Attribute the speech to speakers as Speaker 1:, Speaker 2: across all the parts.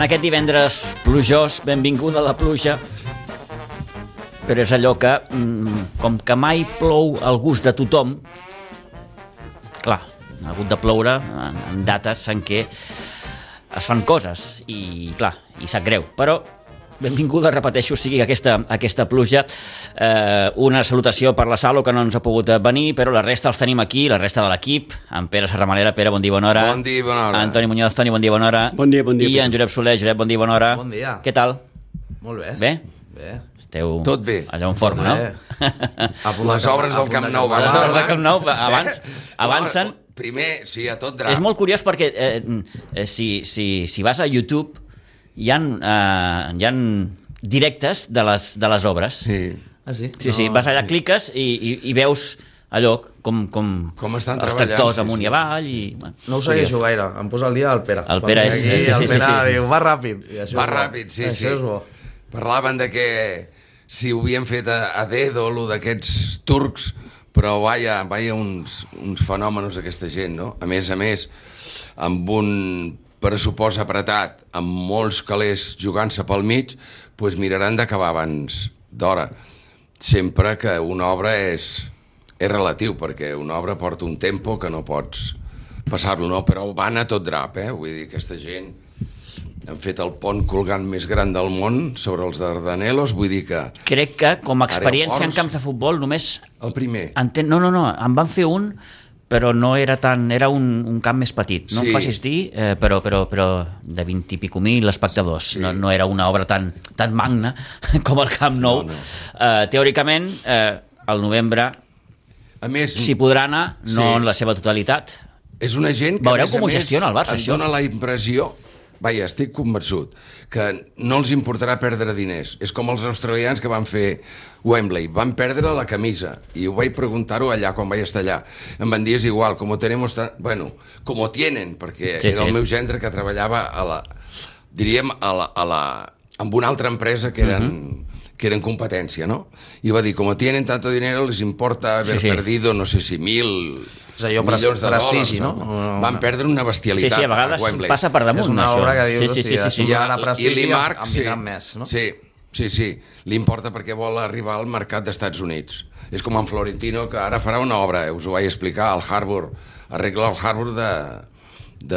Speaker 1: aquest divendres plujós, benvinguda la pluja, però és allò que, mm, com que mai plou al gust de tothom, clar, ha hagut de ploure en, en dates en què es fan coses i, clar, i sap greu, però benvinguda, repeteixo, sigui aquesta, aquesta pluja. Eh, una salutació per la Salo, que no ens ha pogut venir, però la resta els tenim aquí, la resta de l'equip, en Pere Serramanera, Pere, bon dia, bona hora.
Speaker 2: Bon dia i bona hora.
Speaker 1: Antoni Muñoz, Toni, bon dia, bona hora.
Speaker 3: Bon dia, bon dia,
Speaker 1: I en Josep Soler, Josep, bon dia, bona hora.
Speaker 4: Bon dia.
Speaker 1: Què tal?
Speaker 4: Molt bé.
Speaker 1: Bé?
Speaker 4: Bé.
Speaker 1: Esteu
Speaker 2: Tot bé.
Speaker 1: allà en forma, no?
Speaker 4: Bé. A punt
Speaker 2: Les
Speaker 4: d'acabar-
Speaker 2: obres del
Speaker 4: a punt
Speaker 2: Camp Nou
Speaker 4: d'acabar.
Speaker 1: Les
Speaker 2: van
Speaker 1: obres del Camp Nou abans, avancen...
Speaker 2: Primer, sí, a tot drap.
Speaker 1: És molt curiós perquè eh, eh, si, si, si vas a YouTube hi ha, eh, hi ha directes de les, de les obres.
Speaker 2: Sí.
Speaker 4: Ah, sí?
Speaker 1: Sí, sí, vas allà, cliques i, i, i veus allò com, com,
Speaker 2: Com estan
Speaker 1: els
Speaker 2: treballant,
Speaker 1: tractors
Speaker 2: sí,
Speaker 1: amunt
Speaker 2: sí.
Speaker 1: i avall. I, bueno,
Speaker 4: No ho
Speaker 1: és
Speaker 4: segueixo
Speaker 1: curiós.
Speaker 4: gaire, em posa al dia el Pere.
Speaker 1: El Pere
Speaker 4: Quan
Speaker 1: és-
Speaker 4: ve
Speaker 1: sí, sí,
Speaker 4: el
Speaker 1: sí,
Speaker 4: Pere
Speaker 1: sí, sí.
Speaker 4: diu, va ràpid. I això
Speaker 2: Va
Speaker 4: és bo.
Speaker 2: ràpid, sí, sí.
Speaker 4: Això és bo.
Speaker 2: Parlaven de que si ho havien fet a, a dedo, lo d'aquests turcs, però vaja, vaja uns, uns fenòmenos aquesta gent, no? A més a més, amb un pressupost apretat, amb molts calés jugant-se pel mig, doncs miraran d'acabar abans d'hora. Sempre que una obra és, és relatiu, perquè una obra porta un tempo que no pots passar-lo, no? Però van a tot drap, eh? Vull dir, aquesta gent han fet el pont colgant més gran del món sobre els Dardanelos, vull dir que
Speaker 1: Crec que com a experiència en
Speaker 2: Aeroports.
Speaker 1: camps de futbol només
Speaker 2: el primer...
Speaker 1: Enten... No, no, no, en van fer un però no era tan... Era un, un camp més petit. No
Speaker 2: Sí.
Speaker 1: em facis dir, eh, però, però, però de 20 i pico mil espectadors. Sí. No, no era una obra tan, tan magna com el Camp Nou.
Speaker 2: no, no.
Speaker 1: Eh, teòricament, eh, al novembre
Speaker 2: A més,
Speaker 1: s'hi podrà anar, no
Speaker 2: Mm. Sí.
Speaker 1: en la seva totalitat.
Speaker 2: és una gent que... a
Speaker 1: Veureu
Speaker 2: més a
Speaker 1: com ho
Speaker 2: més,
Speaker 1: gestiona el Barça,
Speaker 2: em
Speaker 1: això.
Speaker 2: dóna la impressió Vaja, estic convençut que no els importarà perdre diners. És com els australians que van fer Wembley. Van perdre la camisa. I ho vaig preguntar-ho allà, quan vaig estar allà. Em van dir, és igual, com ho tenemos... ta- Bueno, com ho tienen, perquè
Speaker 1: Sí,
Speaker 2: sí, era
Speaker 1: sí.
Speaker 2: el meu gendre que treballava a la... Diríem, a la... A la amb una altra empresa que eren,
Speaker 1: Mhm.
Speaker 2: que eren competència, no? I va dir, com tienen tanto dinero, les importa haber
Speaker 1: Sí, sí.
Speaker 2: perdido, no sé si mil,
Speaker 4: És allò pres-
Speaker 2: milions de
Speaker 4: prestigi,
Speaker 2: dòlars,
Speaker 4: no? No, no,
Speaker 2: Van
Speaker 4: no.
Speaker 2: perdre una
Speaker 1: Sí,
Speaker 2: bestialitat.
Speaker 1: sí, a vegades
Speaker 2: Wembley.
Speaker 1: passa per damunt,
Speaker 4: És una
Speaker 1: això.
Speaker 4: obra que dius,
Speaker 1: sí, sí, sí,
Speaker 4: hòstia,
Speaker 1: sí,
Speaker 4: si
Speaker 1: sí.
Speaker 4: ja- donarà
Speaker 2: i
Speaker 4: prestigi,
Speaker 2: Lee
Speaker 4: en- en
Speaker 2: Mark,
Speaker 4: vindran més, no?
Speaker 2: Sí, sí, sí. Li importa perquè vol arribar al mercat d'Estats Units. És com en Florentino, que ara farà una obra, eh, us ho vaig explicar, al Harbour, arregla el Harbour de, de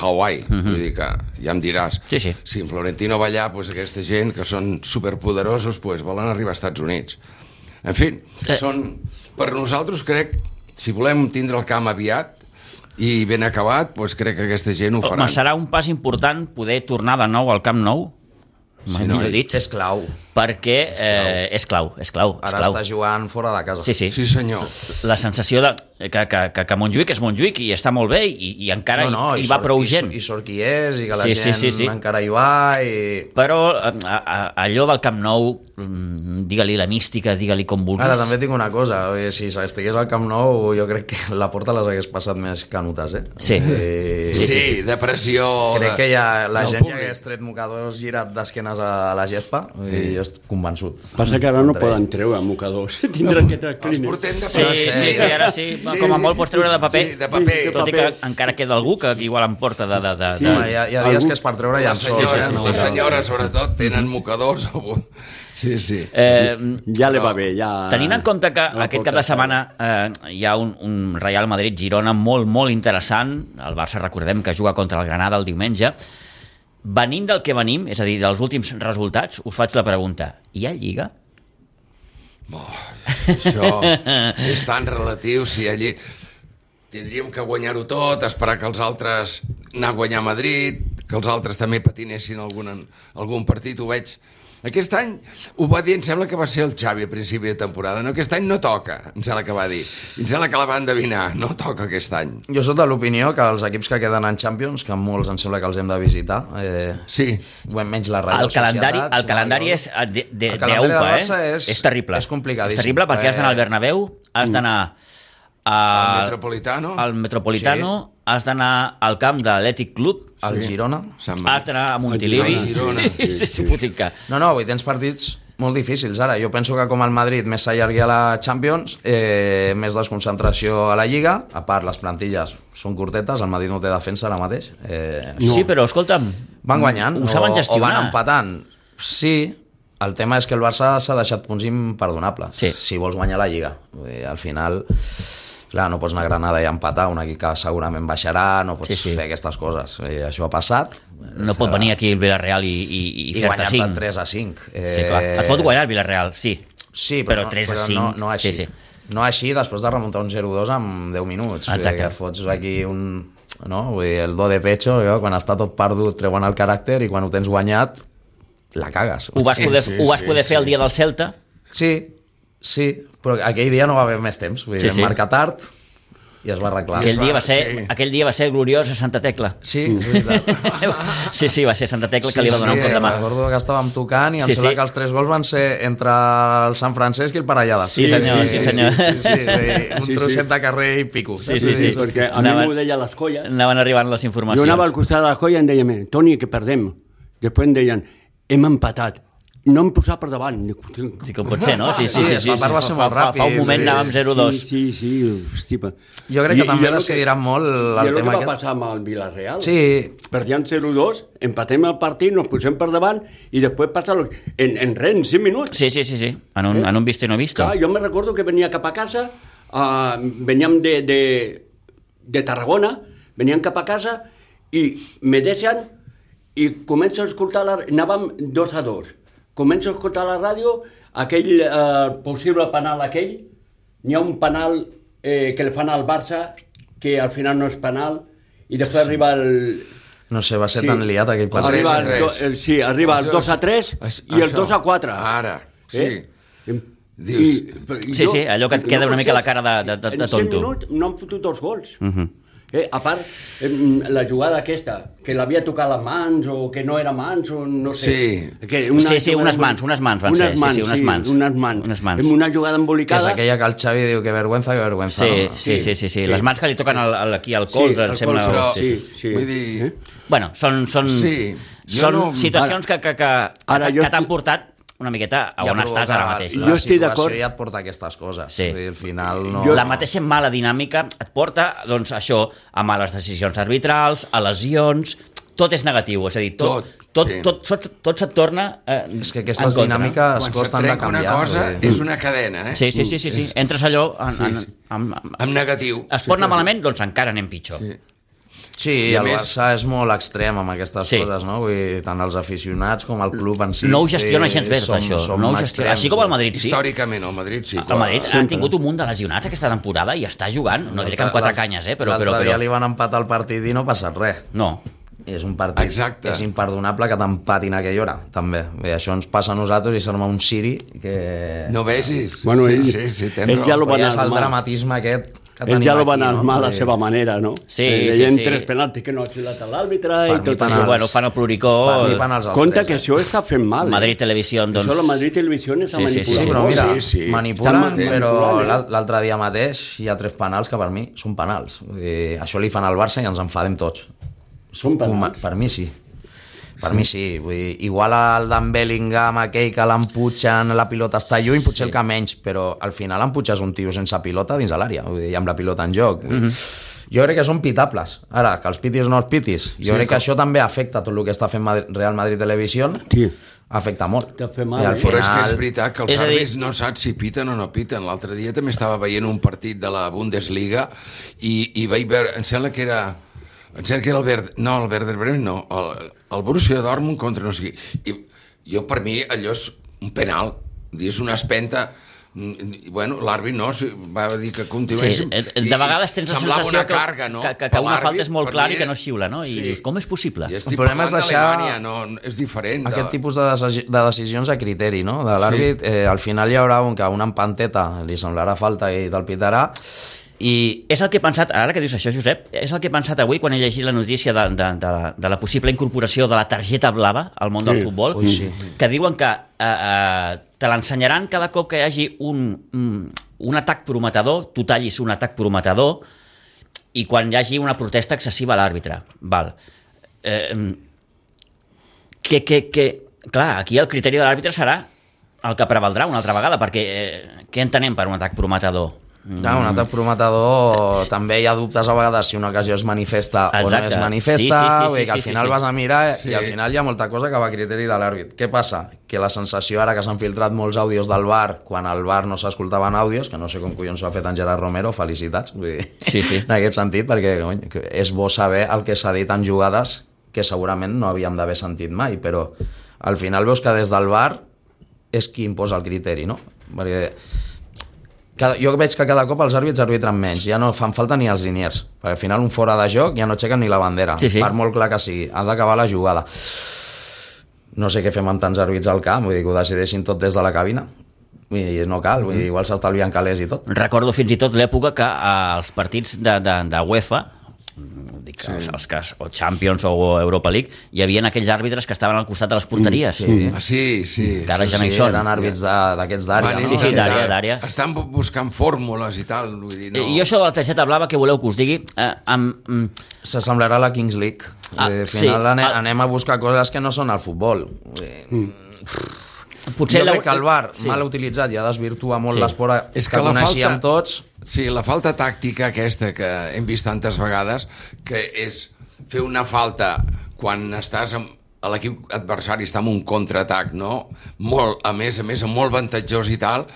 Speaker 2: Hawaii.
Speaker 4: Mhm.
Speaker 2: Vull dir que ja em diràs.
Speaker 1: Sí, sí.
Speaker 2: Si en Florentino va allà, doncs aquesta gent que són superpoderosos doncs volen arribar a Estats Units. En fi,
Speaker 1: Eh.
Speaker 2: són... Per nosaltres, crec, si volem tindre el camp aviat i ben acabat, doncs crec que aquesta gent ho
Speaker 4: Oh,
Speaker 2: faran.
Speaker 1: Home, serà un pas important poder tornar de nou al Camp Nou, sí,
Speaker 2: no,
Speaker 1: millor dit,
Speaker 4: És clau.
Speaker 1: perquè eh, és clau, és clau, és
Speaker 4: Ara
Speaker 1: clau.
Speaker 4: està jugant fora de casa.
Speaker 1: Sí, sí.
Speaker 2: Sí, senyor.
Speaker 1: la sensació de, que, que, que, que Montjuïc és Montjuïc i està molt bé i, i encara no, no, hi, hi va
Speaker 4: sort-
Speaker 1: prou
Speaker 4: i
Speaker 1: gent.
Speaker 4: sort- I sort qui és, i que la
Speaker 1: Sí, sí,
Speaker 4: gent
Speaker 1: sí, sí.
Speaker 4: encara hi va, i...
Speaker 1: Però eh, a, a, allò del Camp Nou, mm, digue-li la mística, digue-li com vulguis.
Speaker 4: Ara també tinc una cosa, vull dir, si estigués al Camp Nou jo crec que la porta les hagués passat més canutes, eh?
Speaker 1: Sí.
Speaker 4: Eh,
Speaker 2: Sí, sí, de pressió...
Speaker 4: Crec
Speaker 2: de-
Speaker 4: que ja la
Speaker 2: del
Speaker 4: gent ja
Speaker 2: públic.
Speaker 4: hagués tret mocadors girat d'esquenes a la gespa i jo estic convençut.
Speaker 3: Passa que ara no poden treure mocadors. Tindran que tractar
Speaker 2: Els portem de
Speaker 1: Sí,
Speaker 2: paper.
Speaker 1: sí, sí, sí, ara sí, sí com a molt pots treure de paper,
Speaker 2: Sí, de paper.
Speaker 1: tot i que encara queda algú que igual em porta de... de, de,
Speaker 3: Sí.
Speaker 4: No,
Speaker 1: de...
Speaker 4: hi, ha, hi ha dies
Speaker 3: Algú-
Speaker 4: que és per treure
Speaker 2: La
Speaker 4: ja
Speaker 2: senyora,
Speaker 1: sí, sí, sí,
Speaker 2: la
Speaker 1: sí.
Speaker 2: senyora sobretot, tenen mocadors. algú- Sí, sí.
Speaker 1: Eh,
Speaker 3: Ja li va bé,
Speaker 4: Ah,
Speaker 3: ja...
Speaker 1: Tenint en compte que
Speaker 3: No
Speaker 1: aquest
Speaker 3: pot
Speaker 1: cap de
Speaker 3: estar.
Speaker 1: setmana eh, hi ha un, un Real Madrid-Girona molt, molt interessant, el Barça recordem que juga contra el Granada el diumenge, venint del que venim, és a dir, dels últims resultats, us faig la pregunta, hi ha Lliga?
Speaker 2: Això és tan relatiu, si allí... Tindríem que guanyar-ho tot, esperar que els altres anar a guanyar a Madrid, que els altres també patinessin algun, algun partit, ho veig... Aquest any, ho va dir, em sembla que va ser el Xavi a principi de temporada, no? Aquest any no toca, em sembla que va dir. Em sembla que la va endevinar, no toca aquest any.
Speaker 4: Jo soc de l'opinió que els equips que queden en Champions, que molts em sembla que els hem de visitar, eh,
Speaker 2: Sí,
Speaker 4: bueno, menys la Real
Speaker 1: El calendari,
Speaker 4: Societat,
Speaker 1: el calendari és eh,
Speaker 4: Espanyol.
Speaker 1: de, de,
Speaker 4: El
Speaker 1: de
Speaker 4: calendari del
Speaker 1: UPA,
Speaker 4: Barça
Speaker 1: eh?
Speaker 4: és-
Speaker 1: és terrible.
Speaker 4: és complicadíssim.
Speaker 1: És terrible perquè has d'anar al
Speaker 4: Eh,
Speaker 1: Bernabéu, has d'anar a...
Speaker 2: Al Metropolitano.
Speaker 1: Al Metropolitano, has d'anar al camp de l'Athletic Club,
Speaker 4: El Girona...
Speaker 2: Sant
Speaker 1: has d'anar a Montilivi.
Speaker 2: Girona.
Speaker 1: Sí, sí, sí, sí.
Speaker 4: No, no, avui tens partits molt difícils ara. Jo penso que com el Madrid més s'allargui a la Champions, eh, més desconcentració a la Lliga, a part les plantilles són curtetes, el Madrid no té defensa ara mateix. Eh,
Speaker 1: No. Sí, però escolta'm...
Speaker 4: van guanyant
Speaker 1: Ho saben
Speaker 4: o, o
Speaker 1: gestionar.
Speaker 4: van empatant. Sí, el tema és que el Barça s'ha deixat punts imperdonables
Speaker 1: Sí.
Speaker 4: si vols guanyar la Lliga. Vull dir, al final, clar, no pots anar a Granada i empatar, un equip que segurament baixarà, no pots
Speaker 1: Sí, sí.
Speaker 4: fer aquestes coses. Vull dir, això ha passat.
Speaker 1: No pot venir aquí el Villarreal i, i, i,
Speaker 4: I eh,
Speaker 1: fer-te
Speaker 4: guanyar-te
Speaker 1: 5.
Speaker 4: 3 a 5.
Speaker 1: Sí, clar. Et pot guanyar el Villarreal, sí.
Speaker 4: Sí,
Speaker 1: però
Speaker 4: però,
Speaker 1: tres a
Speaker 4: no, però
Speaker 1: cinc,
Speaker 4: no, no així.
Speaker 1: sí, sí.
Speaker 4: No així després de remuntar un 0-2 en 10 minuts. Vull dir
Speaker 1: Exacte.
Speaker 4: Que fots aquí un... No? Vull dir, el do de pecho, jo, quan està tot perdut treuen el caràcter i quan ho tens guanyat la cagues.
Speaker 1: Ho vas
Speaker 2: Sí,
Speaker 1: poder,
Speaker 2: sí,
Speaker 1: ho vas
Speaker 2: sí,
Speaker 1: poder fer
Speaker 2: sí.
Speaker 1: el dia del Celta,
Speaker 4: Sí, sí, però aquell dia no va haver més temps. Vull dir,
Speaker 1: Sí,
Speaker 4: sí,
Speaker 1: sí.
Speaker 4: sí. marcar tard i es va arreglar.
Speaker 1: aquell
Speaker 2: es
Speaker 1: dia,
Speaker 2: va-
Speaker 1: va ser,
Speaker 2: sí.
Speaker 1: aquell dia va ser gloriós a Santa Tecla.
Speaker 4: Sí, és veritat.
Speaker 1: Sí, sí, va ser Santa Tecla que li va donar un cop de mà.
Speaker 4: Recordo que estàvem tocant i em
Speaker 1: Sí,
Speaker 4: sí, sembla
Speaker 1: sí.
Speaker 4: sí. que els tres gols van ser entre el Sant Francesc i el Parellada.
Speaker 1: Sí, senyor, sí, senyor.
Speaker 4: Sí, sí, sí, sí, un
Speaker 3: Sí, sí.
Speaker 4: trosset de carrer i pico.
Speaker 1: Sí, sí, sí.
Speaker 3: Perquè a
Speaker 1: Anava-
Speaker 3: mi m'ho deia les colles.
Speaker 1: Anaven arribant les
Speaker 3: Jo
Speaker 1: informacions.
Speaker 3: anava al costat de la colla i em deien, Toni, que perdem. Després em deien, hem empatat. No hem posat per davant.
Speaker 1: Sí que pot ser, no? Sí, sí,
Speaker 4: Sí,
Speaker 1: sí.
Speaker 4: es
Speaker 1: sí,
Speaker 4: va- va
Speaker 1: sí,
Speaker 4: ser
Speaker 1: fa-
Speaker 4: molt
Speaker 1: fa- Fa un
Speaker 4: ràpid,
Speaker 1: moment
Speaker 4: sí,
Speaker 1: anàvem 0-2.
Speaker 3: Sí, sí, sí, hosti, pa.
Speaker 4: Jo crec que també decidiran molt
Speaker 3: I
Speaker 4: el
Speaker 3: el que
Speaker 4: tema
Speaker 3: va
Speaker 4: aquest.
Speaker 3: passar amb el Villarreal.
Speaker 4: Sí,
Speaker 3: Perdíem 0-2, empatem el partit, nos posem per davant i després passa... Lo... En, en res, en 5 minuts.
Speaker 1: Sí, sí, sí, sí. En un, en un visto i no visto.
Speaker 3: Clar, jo me recordo que venia cap a casa, uh, veníem de, de, de Tarragona, veníem cap a casa i me deixen i començo a escoltar la... Anàvem dos a dos. Començo a escoltar la ràdio, aquell uh, possible penal aquell, n'hi ha un penal eh, que el fan al Barça, que al final no és penal, i després arriba el...
Speaker 4: no sé, va ser sí. tan liat aquell partit.
Speaker 2: Tres
Speaker 3: Arriba
Speaker 2: a
Speaker 3: el, do,
Speaker 2: tres.
Speaker 3: el, sí, arriba el
Speaker 2: Això
Speaker 3: 2 a
Speaker 2: és-
Speaker 3: 3
Speaker 2: és-
Speaker 3: i el
Speaker 2: això.
Speaker 3: 2 a 4.
Speaker 2: Ara, sí.
Speaker 3: Eh?
Speaker 2: Dius-
Speaker 3: però
Speaker 1: Sí, sí, allò que et queda una mica la cara de- de- de-
Speaker 3: en
Speaker 1: de
Speaker 3: cent
Speaker 1: tonto. Mhm.
Speaker 3: minuts no han fotut dos gols. eh? A part, em, la jugada aquesta, que l'havia tocat les mans o que no era mans o no sé.
Speaker 2: Sí.
Speaker 3: Que
Speaker 1: Sí, sí,
Speaker 3: jugada
Speaker 1: unes mans, unes mans van ser, sí, sí, unes mans.
Speaker 3: unes mans.
Speaker 1: Unes mans.
Speaker 3: Em, Una jugada
Speaker 4: Que és
Speaker 3: embolicada.
Speaker 4: aquella que el Xavi diu que vergüenza, que vergüenza.
Speaker 1: Sí,
Speaker 4: no?
Speaker 1: sí, sí, sí, sí. Les mans que li toquen al, al, aquí al
Speaker 3: Sí,
Speaker 1: cos,
Speaker 3: al
Speaker 1: em
Speaker 3: cos,
Speaker 1: sembla...
Speaker 2: Però,
Speaker 1: sí, sí.
Speaker 2: sí, vull dir...
Speaker 3: Eh?
Speaker 1: Bueno, són, són,
Speaker 2: Sí, jo
Speaker 1: són
Speaker 2: no-
Speaker 1: situacions que, que, que,
Speaker 3: Ara
Speaker 1: que,
Speaker 3: jo
Speaker 1: que t'han
Speaker 3: estic-
Speaker 1: portat una miqueta a
Speaker 4: Ja
Speaker 1: on
Speaker 4: provoca
Speaker 1: estàs ara mateix.
Speaker 4: La
Speaker 3: Jo estic
Speaker 4: situació
Speaker 3: d'acord.
Speaker 4: Ja et porta aquestes coses.
Speaker 1: Sí.
Speaker 4: Sí. Dir, al final no...
Speaker 1: La mateixa mala dinàmica et porta doncs, això a males decisions arbitrals, a lesions... Tot és negatiu, és a dir, tot, tot, tot,
Speaker 2: Tot, sí.
Speaker 1: tot, tot, tot se't torna eh,
Speaker 4: És que
Speaker 1: en
Speaker 4: aquestes
Speaker 1: contra.
Speaker 4: dinàmiques
Speaker 2: Quan se
Speaker 4: costen de
Speaker 2: trenca una
Speaker 4: canviar.
Speaker 2: cosa,
Speaker 4: vull dir.
Speaker 2: és una cadena, eh?
Speaker 1: Sí, sí, sí, sí, sí. entres allò en, en, en, en,
Speaker 2: Amb negatiu.
Speaker 1: es pot anar malament, doncs encara anem pitjor. Sí.
Speaker 4: Sí,
Speaker 2: I a
Speaker 4: el
Speaker 2: més-
Speaker 4: Barça és molt extrem amb aquestes
Speaker 1: Sí.
Speaker 4: coses, no? Vull dir, tant els aficionats com el club en si.
Speaker 1: No ho gestiona gens bé, tot
Speaker 4: Som-
Speaker 1: això.
Speaker 4: som
Speaker 1: no ho gestiona.
Speaker 4: extrems,
Speaker 1: Així com el
Speaker 4: no?
Speaker 1: Madrid, sí.
Speaker 2: Històricament, el Madrid sí.
Speaker 1: El Madrid ha tingut un munt de lesionats aquesta temporada i està jugant, no diré que amb quatre
Speaker 4: L'altre-
Speaker 1: canyes, eh, però... però,
Speaker 4: L'altre dia
Speaker 1: però
Speaker 4: li van empatar el partit i no ha passat res.
Speaker 1: no,
Speaker 4: És un partit,
Speaker 2: Exacte.
Speaker 4: és imperdonable que t'empatin a aquella hora, també. Bé, això ens passa a nosaltres i s'arma un siri que...
Speaker 2: No vegis?
Speaker 3: Bueno,
Speaker 2: sí,
Speaker 3: ell-
Speaker 2: sí, sí, tens
Speaker 3: ell ja
Speaker 2: raó.
Speaker 3: lo va
Speaker 4: Però ja
Speaker 3: anar
Speaker 4: és el
Speaker 3: mal.
Speaker 4: dramatisme aquest que
Speaker 3: Ell ja lo va anar
Speaker 4: no?
Speaker 3: mal a la
Speaker 4: Perquè
Speaker 3: seva manera, no?
Speaker 1: Sí,
Speaker 3: Eh,
Speaker 1: sí,
Speaker 3: deien
Speaker 1: sí.
Speaker 3: tres penaltis que no ha xiulat a l'àrbitre
Speaker 4: Per
Speaker 3: i
Speaker 4: mi
Speaker 3: tot
Speaker 1: sí,
Speaker 4: penals.
Speaker 1: bueno, fan el pluricó,
Speaker 4: flipen els altres,
Speaker 3: Compte Oh, que
Speaker 4: eh?
Speaker 3: això està fent mal. eh?
Speaker 1: Madrid Televisió, doncs...
Speaker 3: Això la Madrid Televisió està
Speaker 1: Sí, sí, sí,
Speaker 3: manipulant.
Speaker 4: Sí, però
Speaker 2: Oh,
Speaker 4: mira,
Speaker 2: sí,
Speaker 4: sí,
Speaker 2: sí.
Speaker 4: sí. manipulen,
Speaker 3: Estan
Speaker 4: però
Speaker 3: manipulant, eh?
Speaker 4: l'al- l'altre dia mateix hi ha tres penals que per mi són penals. Vull dir, això li fan al Barça i ens enfadem tots.
Speaker 3: Són penals?
Speaker 4: Per mi sí. Per mi sí, vull dir, igual el d'en Bellingham, aquell que l'emputxen, la pilota està lluny, potser el que menys, però al final emputxes un tio sense pilota dins de l'àrea, vull dir, i amb la pilota en joc. Vull dir, Jo crec que són pitables. Ara, que els pitis no els pitis. Jo
Speaker 2: Sí,
Speaker 4: crec que
Speaker 2: com-
Speaker 4: això també afecta tot el que està fent Madri- Real Madrid Televisió.
Speaker 3: Tio.
Speaker 4: Afecta molt.
Speaker 3: T'ha fet mal,
Speaker 4: I al
Speaker 3: eh?
Speaker 2: Però és que
Speaker 4: final-
Speaker 2: és veritat que els
Speaker 1: És a dir-
Speaker 2: àrbits no saps si piten o no piten. L'altre dia també estava veient un partit de la Bundesliga i, i vaig veure, em sembla que era... Em sembla que era el Verd... No, el Werder Bremen no. El, el Borussia Dortmund contra no sé qui. I jo, per mi, allò és un penal. Dir, És una espenta... Mm, i, Bueno, l'àrbit no, sí, va dir que
Speaker 1: Sí,
Speaker 2: continuéssim.
Speaker 1: eh,
Speaker 2: I-
Speaker 1: de vegades tens la
Speaker 2: semblava
Speaker 1: sensació
Speaker 2: una carga, no?
Speaker 1: que, que,
Speaker 2: Per
Speaker 1: que una
Speaker 2: l'àrbit,
Speaker 1: falta és molt
Speaker 2: per
Speaker 1: clara
Speaker 2: mi,
Speaker 1: i que no es xiula, no? I
Speaker 2: sí.
Speaker 1: dius, com és possible?
Speaker 2: I estic
Speaker 4: El problema és
Speaker 2: parlant
Speaker 4: deixar-
Speaker 2: d'Alemanya, no, és diferent.
Speaker 4: Aquest
Speaker 2: de...
Speaker 4: tipus de, deci- de decisions a criteri, no? De l'àrbit, eh, al final hi haurà un que una empanteta li semblarà falta i te'l pitarà, i
Speaker 1: És el que he pensat, ara que dius això, Josep, és el que he pensat avui quan he llegit la notícia de, de, de, de la possible incorporació de la targeta blava al món sí. del futbol,
Speaker 4: Ui, sí.
Speaker 1: que diuen que eh, eh, te l'ensenyaran cada cop que hi hagi un, mm, un atac prometedor, tu tallis un atac prometedor, i quan hi hagi una protesta excessiva a l'àrbitre. Val. mm, Eh, que, que, que, clar, aquí el criteri de l'àrbitre serà el que prevaldrà una altra vegada, perquè eh, què entenem per un atac prometedor?
Speaker 4: Mm. Clar, un atac prometedor també hi ha dubtes a vegades si una ocasió es manifesta o no
Speaker 1: Exacte.
Speaker 4: es manifesta,
Speaker 1: Sí, sí, sí,
Speaker 4: vull dir
Speaker 1: sí,
Speaker 4: que al
Speaker 1: sí,
Speaker 4: final
Speaker 1: sí.
Speaker 4: vas a mirar
Speaker 2: Sí.
Speaker 4: i al final hi ha molta cosa que va a criteri de l'àrbit. Què passa? Que la sensació ara que s'han filtrat molts àudios del bar, quan al bar no s'escoltaven àudios, que no sé com collons ho ha fet en Gerard Romero, felicitats, vull dir,
Speaker 1: Sí, sí.
Speaker 4: en aquest sentit, perquè cony, que és bo saber el que s'ha dit en jugades que segurament no havíem d'haver sentit mai, però al final veus que des del bar és qui imposa el criteri, no? Perquè cada, jo veig que cada cop els àrbits arbitren menys, ja no fan falta ni els liniers, perquè al final un fora de joc ja no aixequen ni la bandera,
Speaker 1: Sí, sí.
Speaker 4: per molt clar que sigui, ha d'acabar la jugada. No sé què fem amb tants àrbits al camp, vull dir que ho decideixin tot des de la cabina, vull dir, no cal, vull dir, igual s'estalvien calés i tot.
Speaker 1: Recordo fins i tot l'època que eh, els partits de, de, de UEFA, mm, dic sí. els, els que, o Champions o Europa League, hi havia aquells àrbitres que estaven al costat de les porteries. Mm,
Speaker 2: Ah, sí, sí.
Speaker 1: Que ara ja no hi
Speaker 4: Sí,
Speaker 1: són.
Speaker 4: eren àrbits de- d'aquests d'àrea,
Speaker 2: Van
Speaker 4: no?
Speaker 1: Sí, sí,
Speaker 2: intentar-
Speaker 1: d'àrea, d'àrea.
Speaker 2: Estan bu- buscant fórmules i tal, vull dir, no.
Speaker 1: Eh, I això de la targeta blava, que voleu que us digui? Eh, amb, amb,
Speaker 4: s'assemblarà a la Kings League.
Speaker 1: Ah,
Speaker 4: Ah, al
Speaker 1: sí.
Speaker 4: final sí, anem,
Speaker 1: Ah.
Speaker 4: anem a buscar coses que no són al futbol. Mm.
Speaker 1: potser
Speaker 4: Jo
Speaker 1: la-
Speaker 4: crec que el VAR, sí. mal utilitzat, ja desvirtua molt
Speaker 1: Sí.
Speaker 4: sí. l'esport que,
Speaker 2: És
Speaker 4: que
Speaker 2: que la
Speaker 4: coneixíem
Speaker 2: falta-
Speaker 4: tots.
Speaker 2: Sí, la falta tàctica aquesta que hem vist tantes vegades, que és fer una falta quan estàs amb a l'equip adversari està en un contraatac, no? Molt, a més, a més, molt avantatjós i tal,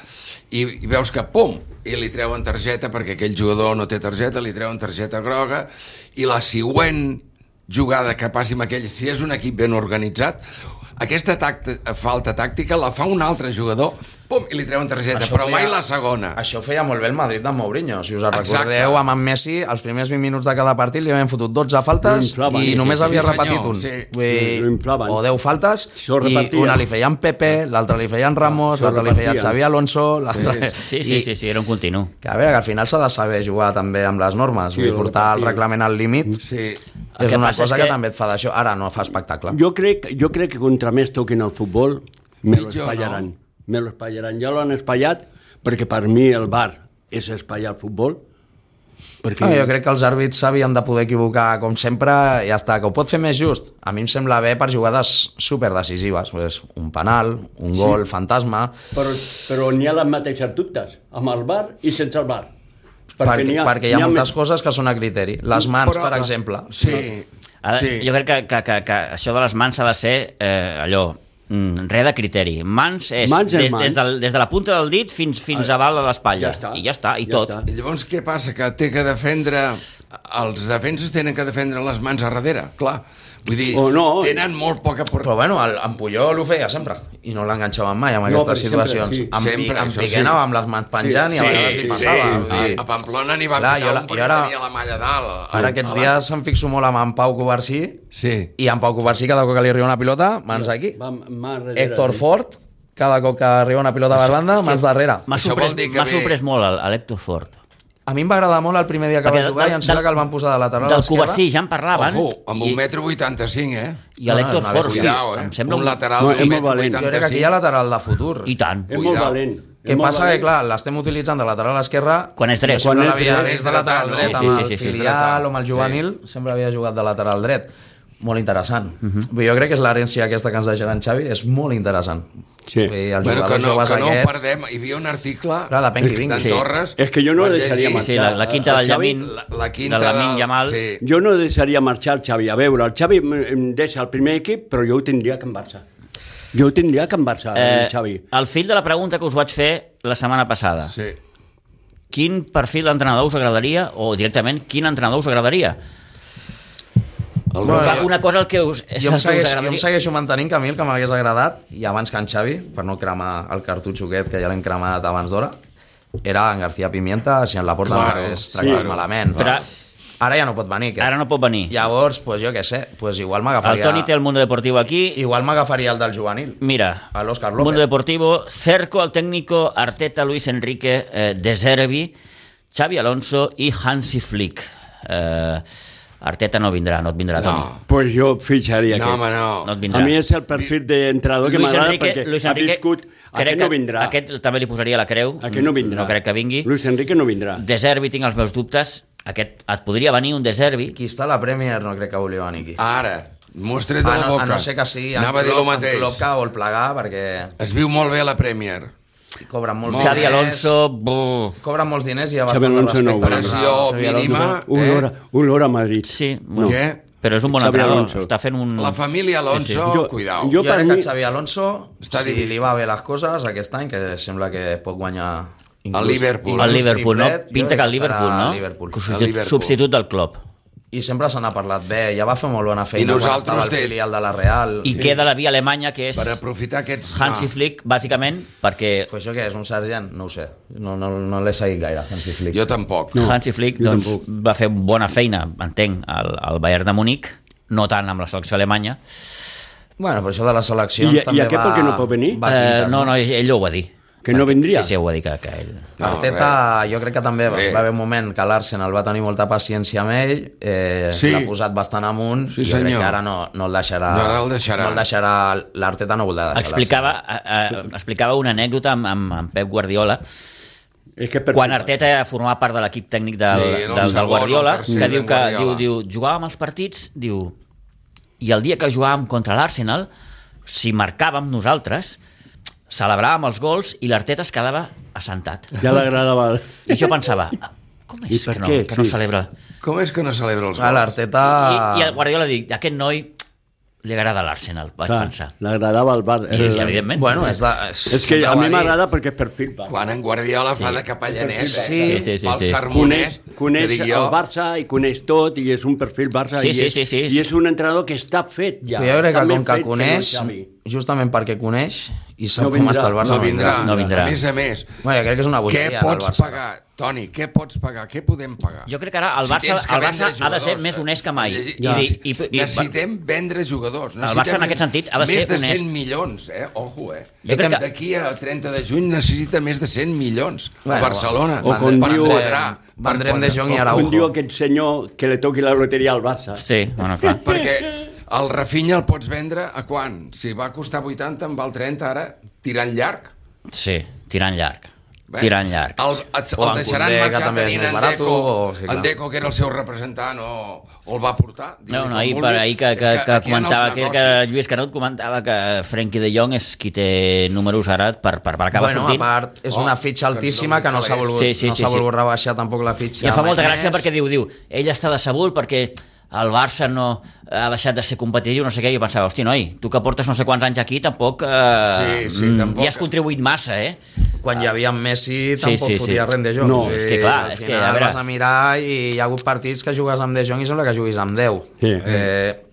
Speaker 2: i, i veus que, pum, i li treuen targeta perquè aquell jugador no té targeta, li treuen targeta groga, i la següent jugada que passi amb aquell, si és un equip ben organitzat, aquesta tacta, falta tàctica la fa un altre jugador, pum, i li treuen targeta,
Speaker 4: Això
Speaker 2: però
Speaker 4: feia-
Speaker 2: mai la segona.
Speaker 4: Això feia molt bé el Madrid de Mourinho. Si us en
Speaker 2: Exacte.
Speaker 4: recordeu, amb en Messi, els primers 20 minuts de cada partit li havien fotut 12 faltes
Speaker 3: Mm, clar,
Speaker 4: i
Speaker 3: sí,
Speaker 4: només
Speaker 2: sí,
Speaker 4: havia
Speaker 2: sí, senyor,
Speaker 4: repetit un.
Speaker 2: sí.
Speaker 4: Vull dir,
Speaker 3: Inflaven.
Speaker 4: o 10 faltes,
Speaker 3: Això
Speaker 4: i
Speaker 3: repetia.
Speaker 4: una li feien Pepe, l'altra li feien Ramos,
Speaker 3: Això
Speaker 4: l'altra li feien
Speaker 3: repetia.
Speaker 4: Xavi Alonso, l'altra...
Speaker 1: Sí, sí,
Speaker 4: I-
Speaker 1: sí, sí, era un continu.
Speaker 4: Que a veure, que al final s'ha de saber jugar també amb les normes, sí,
Speaker 3: Sí,
Speaker 4: vull dir,
Speaker 3: el
Speaker 4: portar el
Speaker 3: repartir.
Speaker 4: reglament al límit
Speaker 2: Sí,
Speaker 1: El
Speaker 4: és
Speaker 1: que
Speaker 4: una
Speaker 1: passa és
Speaker 4: cosa que...
Speaker 1: que-
Speaker 4: que també et fa d'això. Ara no fa espectacle.
Speaker 3: Jo crec, jo crec que contra més toquin el futbol, me lo
Speaker 2: Pitjor,
Speaker 3: espallaran. Me lo espallaran. Ja l'han espallat perquè per mi el bar és espallar el futbol. Perquè...
Speaker 4: Ah, jo crec que els àrbits s'havien de poder equivocar com sempre i ja està, que ho pot fer més just. A mi em sembla bé per jugades superdecisives, pues, un penal, un gol, fantasma...
Speaker 3: Però, però n'hi ha les mateixes dubtes, amb el bar i sense el bar.
Speaker 4: Perquè, perquè,
Speaker 3: n'hi
Speaker 4: perquè hi ha
Speaker 3: n'hi
Speaker 4: moltes
Speaker 3: més.
Speaker 4: coses que són a criteri. Les mans,
Speaker 2: Però-
Speaker 4: per exemple.
Speaker 2: sí,
Speaker 1: Ara, sí.
Speaker 2: sí.
Speaker 1: Jo crec que, que, que, que això de les mans ha de ser eh, allò, mm, res de criteri. Mans és
Speaker 3: Mans és
Speaker 1: des,
Speaker 3: mans.
Speaker 1: des, del, des de la punta del dit fins fins a dalt a l'espatlla.
Speaker 3: Ja està.
Speaker 1: I ja està, i
Speaker 3: Ja
Speaker 1: tot.
Speaker 3: està.
Speaker 2: I Llavors, què passa? Que té que defendre... Els defenses tenen que defendre les mans a darrere, clar. Vull dir,
Speaker 3: O no.
Speaker 2: tenen molt poca
Speaker 4: Però
Speaker 2: portada.
Speaker 4: bueno, el, en Puyol ho feia sempre i no l'enganxaven mai amb
Speaker 3: No,
Speaker 4: aquestes
Speaker 3: perquè sempre,
Speaker 4: situacions.
Speaker 3: sí.
Speaker 4: Amb,
Speaker 2: Sempre,
Speaker 4: amb
Speaker 2: això
Speaker 4: Piqué
Speaker 2: sí.
Speaker 4: anava amb les mans penjant i a vegades li passava. vull
Speaker 2: A,
Speaker 4: dir.
Speaker 2: a Pamplona n'hi va
Speaker 4: Clar,
Speaker 2: Clar, pitar
Speaker 4: jo la-
Speaker 2: un
Speaker 4: jo
Speaker 2: perquè
Speaker 4: ara-
Speaker 2: tenia la malla a dalt.
Speaker 4: Ah, Ara aquests
Speaker 2: Abans-
Speaker 4: dies em fixo molt amb en Pau Covarsí
Speaker 2: Sí.
Speaker 4: i en Pau Covarsí cada cop que li arriba una pilota, mans aquí.
Speaker 3: Va, mà darrere,
Speaker 4: Héctor
Speaker 3: sí.
Speaker 4: Ford, cada cop que arriba una pilota per banda, mans darrere.
Speaker 1: M'ha
Speaker 2: Això
Speaker 1: sorprès,
Speaker 2: vol dir que
Speaker 1: m'ha
Speaker 2: ve-
Speaker 1: sorprès molt el- a l'Hector Ford.
Speaker 4: A mi em va agradar molt el primer dia que
Speaker 1: Perquè
Speaker 4: va jugar
Speaker 1: del-
Speaker 4: i em sembla
Speaker 1: del-
Speaker 4: que el van posar de lateral a
Speaker 1: Del
Speaker 4: l'esquerra.
Speaker 1: Covarsí ja en parlaven.
Speaker 2: Ojo, amb
Speaker 1: i-
Speaker 2: un metro 85, eh?
Speaker 1: I a l'Hector
Speaker 4: No, no, no,
Speaker 1: Ford,
Speaker 2: Cuidao, eh?
Speaker 1: em sembla
Speaker 2: un,
Speaker 1: un...
Speaker 2: lateral
Speaker 3: No,
Speaker 2: no,
Speaker 3: és
Speaker 2: d'un
Speaker 3: molt
Speaker 2: metro
Speaker 3: valent.
Speaker 4: Jo crec que aquí hi
Speaker 2: 85.
Speaker 4: ha lateral de futur.
Speaker 1: I tant.
Speaker 3: És molt
Speaker 2: Cuidao.
Speaker 3: valent.
Speaker 4: Què
Speaker 3: és molt
Speaker 4: passa? Que
Speaker 3: valent.
Speaker 4: clar, l'estem utilitzant de lateral a l'esquerra
Speaker 1: Quan és dret.
Speaker 4: Jo sempre
Speaker 3: Quan és
Speaker 4: l'havia
Speaker 3: dret,
Speaker 4: vist
Speaker 2: és
Speaker 4: de lateral
Speaker 2: dret,
Speaker 4: dret,
Speaker 1: no?
Speaker 4: amb
Speaker 1: Sí,
Speaker 4: el
Speaker 1: sí, sí, sí, és
Speaker 4: filial
Speaker 2: dret.
Speaker 4: o amb el juvenil, sempre havia jugat de lateral dret. Molt interessant.
Speaker 1: Mhm.
Speaker 4: Vull dir, Jo crec que és l'herència aquesta que ens deixarà en Xavi, és molt interessant.
Speaker 3: Sí.
Speaker 4: Vull dir, els
Speaker 2: Bueno, que
Speaker 4: jugadors
Speaker 2: no,
Speaker 4: joves
Speaker 2: que no ho
Speaker 4: aquests-
Speaker 2: perdem. Hi havia un article
Speaker 4: Clar, depèn qui vingui.
Speaker 2: d'en
Speaker 1: Sí.
Speaker 2: Torres.
Speaker 3: És que jo no
Speaker 2: Vas
Speaker 3: deixaria
Speaker 2: llegir-
Speaker 1: Sí, sí,
Speaker 3: marxar.
Speaker 1: la, la quinta
Speaker 3: El
Speaker 1: del
Speaker 3: Xavi,
Speaker 1: Llamin,
Speaker 2: La, la quinta
Speaker 1: de Lamin Yamal,
Speaker 2: Sí.
Speaker 3: Jo no deixaria marxar el Xavi. A veure, el Xavi em- em deixa el primer equip, però jo ho tindria que en Barça. Jo ho tindria que en Barça, eh, el Xavi.
Speaker 1: el fill de la pregunta que us vaig fer la setmana passada.
Speaker 2: Sí.
Speaker 1: Quin perfil d'entrenador us agradaria, o directament, quin entrenador us agradaria?
Speaker 2: El
Speaker 4: Bueno,
Speaker 1: Clar,
Speaker 2: Roca-
Speaker 1: una cosa el que us... És
Speaker 4: Jo em,
Speaker 1: el que us
Speaker 4: segueix, jo em
Speaker 1: agradaria.
Speaker 4: segueixo mantenint que a mi el que m'hagués agradat, i abans que en Xavi, per no cremar el cartutxo aquest, que ja l'hem cremat abans d'hora, era en García Pimienta, si en la porta
Speaker 2: Claro,
Speaker 4: claro, no hagués
Speaker 2: sí.
Speaker 4: tractat
Speaker 2: Claro.
Speaker 4: malament.
Speaker 1: Però-
Speaker 4: Ara ja no pot venir. Aquest.
Speaker 1: Ara no pot venir.
Speaker 4: Llavors, pues, jo què sé, pues, igual
Speaker 1: El Toni té
Speaker 4: m'agafaria
Speaker 1: el Mundo Deportivo aquí.
Speaker 4: igual m'agafaria el del juvenil.
Speaker 1: Mira,
Speaker 4: A l'Òscar López.
Speaker 1: Mundo Deportivo, Cerco, el técnico Arteta, Luis Enrique, eh, De Zerbi, Xavi Alonso i Hansi Flick. Eh, Arteta no vindrà, no et vindrà, Toni.
Speaker 2: No,
Speaker 3: pues jo fitxaria
Speaker 2: no, home,
Speaker 3: aquest.
Speaker 2: no.
Speaker 1: No et vindrà.
Speaker 3: a mi és el perfil d'entrenador que
Speaker 1: Luis
Speaker 3: m'agrada
Speaker 1: Enrique,
Speaker 3: perquè
Speaker 1: Luis
Speaker 3: ha
Speaker 1: Enrique,
Speaker 3: viscut...
Speaker 1: crec
Speaker 3: Aquest no vindrà.
Speaker 1: Que, aquest també li posaria la creu.
Speaker 3: Aquest no vindrà.
Speaker 1: No crec que vingui.
Speaker 3: Luis Enrique no vindrà.
Speaker 1: De Zerbi tinc els meus dubtes. Aquest, et podria venir un De Zerbi. Ah,
Speaker 4: Qui està a la Premier no crec que volia venir aquí.
Speaker 2: Ara. M'ho has tret de
Speaker 4: A
Speaker 2: la
Speaker 4: Ah, no,
Speaker 2: boca.
Speaker 4: a no ser que sigui en,
Speaker 2: Anava a dir el
Speaker 4: Klopp, en
Speaker 2: mateix.
Speaker 4: Klopp que vol plegar perquè
Speaker 2: Es viu molt bé a la Premier.
Speaker 4: cobren molts
Speaker 2: Molt
Speaker 1: Xavi
Speaker 2: bé.
Speaker 1: Alonso... buh.
Speaker 4: Cobren molts diners i hi ha
Speaker 3: Xavi
Speaker 4: bastant de
Speaker 3: Alonso no
Speaker 4: respecte.
Speaker 3: ho vol.
Speaker 4: per
Speaker 2: Pressió
Speaker 4: la-
Speaker 3: Xavi Alonso.
Speaker 2: mínima,
Speaker 3: Un
Speaker 2: eh?
Speaker 3: hora, un hora a Madrid.
Speaker 1: Sí,
Speaker 3: No.
Speaker 2: Què?
Speaker 1: però és un bon
Speaker 3: Xavi
Speaker 1: entrenador.
Speaker 3: Alonso.
Speaker 1: Està fent un...
Speaker 2: La família Alonso,
Speaker 1: Sí,
Speaker 3: Jo-
Speaker 2: cuidao.
Speaker 3: jo-
Speaker 4: Jo, jo
Speaker 3: per
Speaker 4: crec
Speaker 3: mi-
Speaker 4: que Xavi Alonso,
Speaker 2: Està
Speaker 4: Està si
Speaker 2: dividit.
Speaker 4: li va bé les coses aquest any, que sembla que pot guanyar... inclús-
Speaker 2: El Liverpool. eh?
Speaker 4: inclús
Speaker 2: El
Speaker 1: Al Liverpool, no?
Speaker 4: triplet, jo
Speaker 1: Pinta
Speaker 4: crec
Speaker 1: que al
Speaker 4: serà
Speaker 1: Liverpool, no?
Speaker 4: el Liverpool.
Speaker 1: Que
Speaker 2: Al
Speaker 1: substitut,
Speaker 2: Liverpool.
Speaker 1: substitut del club.
Speaker 4: I sempre se n'ha parlat bé, ja va fer molt bona feina quan
Speaker 2: nosaltres
Speaker 4: estava al
Speaker 2: té-
Speaker 4: filial de la Real.
Speaker 1: I queda la via alemanya, que és
Speaker 2: Per aprofitar aquests...
Speaker 3: Ah.
Speaker 2: Ah,
Speaker 1: Hansi Flick, bàsicament, perquè
Speaker 4: Pues això què és, un sergent? No ho sé. No, no, no l'he seguit gaire, Hansi
Speaker 2: Ah,
Speaker 4: Flick.
Speaker 2: jo tampoc.
Speaker 3: No.
Speaker 1: Hansi Flick
Speaker 3: jo
Speaker 1: doncs,
Speaker 3: tampoc.
Speaker 1: va fer bona feina, entenc, al, al Bayern de Múnich, no tant amb la selecció alemanya.
Speaker 4: Bueno, però això de les seleccions
Speaker 3: I- i
Speaker 4: també
Speaker 3: aquest
Speaker 4: va...
Speaker 3: per què no pot venir?
Speaker 4: Va
Speaker 1: Eh, no, no, ell ho va dir.
Speaker 3: Que no
Speaker 1: Perquè-
Speaker 3: vindria?
Speaker 1: Sí, sí, ho va dir que, que ell...
Speaker 2: No,
Speaker 4: Arteta, jo crec que també va,
Speaker 2: Bé.
Speaker 4: va haver un moment que l'Arsenal va tenir molta paciència amb ell, eh,
Speaker 2: Sí.
Speaker 4: l'ha posat bastant amunt,
Speaker 2: Sí,
Speaker 4: jo crec
Speaker 2: senyor.
Speaker 4: que ara no, no el deixarà.
Speaker 2: No, ara el deixarà.
Speaker 4: No el deixarà, l'Arteta no voldrà deixar
Speaker 1: Explicava, eh, eh, explicava una anècdota amb, amb, amb Pep Guardiola
Speaker 3: És que per...
Speaker 1: quan Arteta formava part de l'equip tècnic del,
Speaker 2: Sí,
Speaker 1: sí,
Speaker 2: era el
Speaker 1: del, del
Speaker 2: segon,
Speaker 1: Guardiola,
Speaker 2: el tercer
Speaker 1: que diu
Speaker 2: del
Speaker 1: que diu,
Speaker 2: Guardiola.
Speaker 1: diu, jugàvem els partits, diu, i el dia que jugàvem contra l'Arsenal, si marcàvem nosaltres, celebràvem els gols i l'Arteta es quedava assentat.
Speaker 3: Ja l'agradava.
Speaker 1: I jo pensava, "Ah, com
Speaker 3: I
Speaker 1: és
Speaker 3: per
Speaker 1: que no,
Speaker 3: què?
Speaker 1: que no
Speaker 3: Sí.
Speaker 1: celebra?
Speaker 2: Com és que no celebra els
Speaker 4: Ah,
Speaker 2: gols?
Speaker 4: L'Arteta...
Speaker 1: I, I el Guardiola diu, aquest noi li agrada l'Arsenal, vaig
Speaker 3: Clar, Eh,
Speaker 1: pensar.
Speaker 3: L'agradava el bar.
Speaker 1: I, evidentment.
Speaker 4: Bueno, és, la,
Speaker 3: És que a
Speaker 4: va
Speaker 3: mi
Speaker 4: dir-
Speaker 3: m'agrada perquè és perfil va.
Speaker 2: Quan en Guardiola fa de capellanet,
Speaker 4: Sí.
Speaker 2: eh?
Speaker 4: Sí,
Speaker 1: sí, sí,
Speaker 2: fa el
Speaker 1: sí.
Speaker 4: eh?
Speaker 2: sermonet,
Speaker 3: Coneix, coneix
Speaker 2: que dic jo,
Speaker 3: el Barça i coneix tot i és un perfil Barça
Speaker 1: Sí,
Speaker 3: i,
Speaker 1: sí,
Speaker 3: és,
Speaker 1: sí, sí.
Speaker 3: i és un entrenador que està fet ja.
Speaker 4: Ja, jo crec
Speaker 3: Està
Speaker 4: que
Speaker 3: més
Speaker 4: com que
Speaker 3: fet no
Speaker 4: coneix,
Speaker 3: Xavi.
Speaker 4: justament perquè coneix i sap
Speaker 3: No
Speaker 4: com
Speaker 3: vindrà,
Speaker 4: està el Barça,
Speaker 2: no vindrà.
Speaker 1: No vindrà.
Speaker 2: A més a més,
Speaker 4: Bueno, jo crec que és una
Speaker 2: què
Speaker 4: bogeria del
Speaker 2: pots
Speaker 4: Barça.
Speaker 2: pagar? Toni, què pots pagar? Què podem pagar?
Speaker 1: Jo crec que ara el
Speaker 2: Si
Speaker 1: Barça,
Speaker 2: tens que
Speaker 1: el Barça
Speaker 2: vendre
Speaker 1: ha de ser
Speaker 2: jugadors,
Speaker 1: més
Speaker 2: eh?
Speaker 1: honest que mai.
Speaker 2: Llegir-
Speaker 1: I, dir- i, i,
Speaker 2: necessitem vendre jugadors.
Speaker 1: Barça, en
Speaker 2: Necessitem
Speaker 1: aquest sentit, ha de
Speaker 2: més
Speaker 1: ser
Speaker 2: de 100
Speaker 1: honest.
Speaker 2: milions, eh? Ojo, eh?
Speaker 1: Jo crec que-
Speaker 2: D'aquí al 30 de juny necessita més de 100 milions
Speaker 4: Bueno,
Speaker 2: a Barcelona
Speaker 3: o com
Speaker 2: per
Speaker 3: diu-
Speaker 2: quadrar. per
Speaker 4: eh, Vendrem de
Speaker 2: quadrar.
Speaker 4: Jong i
Speaker 3: Com diu
Speaker 4: Araujo.
Speaker 3: aquest senyor que li toqui la loteria al Barça.
Speaker 1: Sí, bueno, clar.
Speaker 2: Perquè el Rafinha el pots vendre a quan? Si va costar 80, en val 30 ara, tirant llarg.
Speaker 1: Sí, tirant llarg.
Speaker 2: Bé,
Speaker 1: Tirant llarg.
Speaker 2: El, et,
Speaker 4: O
Speaker 2: el
Speaker 4: en
Speaker 2: deixaran
Speaker 4: Koundé, que
Speaker 2: marxar
Speaker 4: també és
Speaker 2: tenint
Speaker 4: molt
Speaker 2: en
Speaker 4: barato,
Speaker 2: Deco,
Speaker 4: o- sí, clar.
Speaker 2: en Deco, que era el seu representant, o, o el va portar.
Speaker 1: No,
Speaker 2: Digue-li
Speaker 1: no,
Speaker 2: com
Speaker 1: ahir, per
Speaker 2: vulguis.
Speaker 1: ahir que,
Speaker 2: És
Speaker 1: que, que
Speaker 2: aquí en els
Speaker 1: comentava que, que
Speaker 2: negocis-
Speaker 1: Lluís Canut comentava que Frenkie de Jong és qui té números ara per, per, per acabar
Speaker 4: Bueno,
Speaker 1: sortint.
Speaker 4: a part, és
Speaker 2: Oh,
Speaker 4: una fitxa
Speaker 2: doncs
Speaker 4: altíssima
Speaker 2: no
Speaker 4: que no s'ha
Speaker 2: calés.
Speaker 4: volgut,
Speaker 1: Sí, sí,
Speaker 4: no
Speaker 1: sí,
Speaker 4: s'ha
Speaker 1: sí.
Speaker 4: volgut rebaixar tampoc la fitxa.
Speaker 1: I em fa molta
Speaker 4: mai
Speaker 1: gràcia
Speaker 4: més.
Speaker 1: perquè diu, diu, ell està decebut perquè el Barça no ha deixat de ser competitiu, no sé què, i jo pensava, hosti, noi, tu que portes no sé quants anys aquí, tampoc... Eh,
Speaker 2: Sí, sí,
Speaker 1: mm,
Speaker 2: tampoc.
Speaker 1: Hi has contribuït massa, eh?
Speaker 4: quan hi havia en
Speaker 1: Sí,
Speaker 4: Messi tampoc
Speaker 1: sí, sí.
Speaker 4: fotia res de joc.
Speaker 3: No,
Speaker 4: Vull
Speaker 1: és
Speaker 4: dir,
Speaker 1: que clar,
Speaker 4: al
Speaker 1: és que,
Speaker 4: final
Speaker 1: a veure-
Speaker 4: Vas a mirar i hi ha hagut partits que jugues amb de Jong i sembla que juguis amb 10.
Speaker 3: Sí.
Speaker 4: Eh,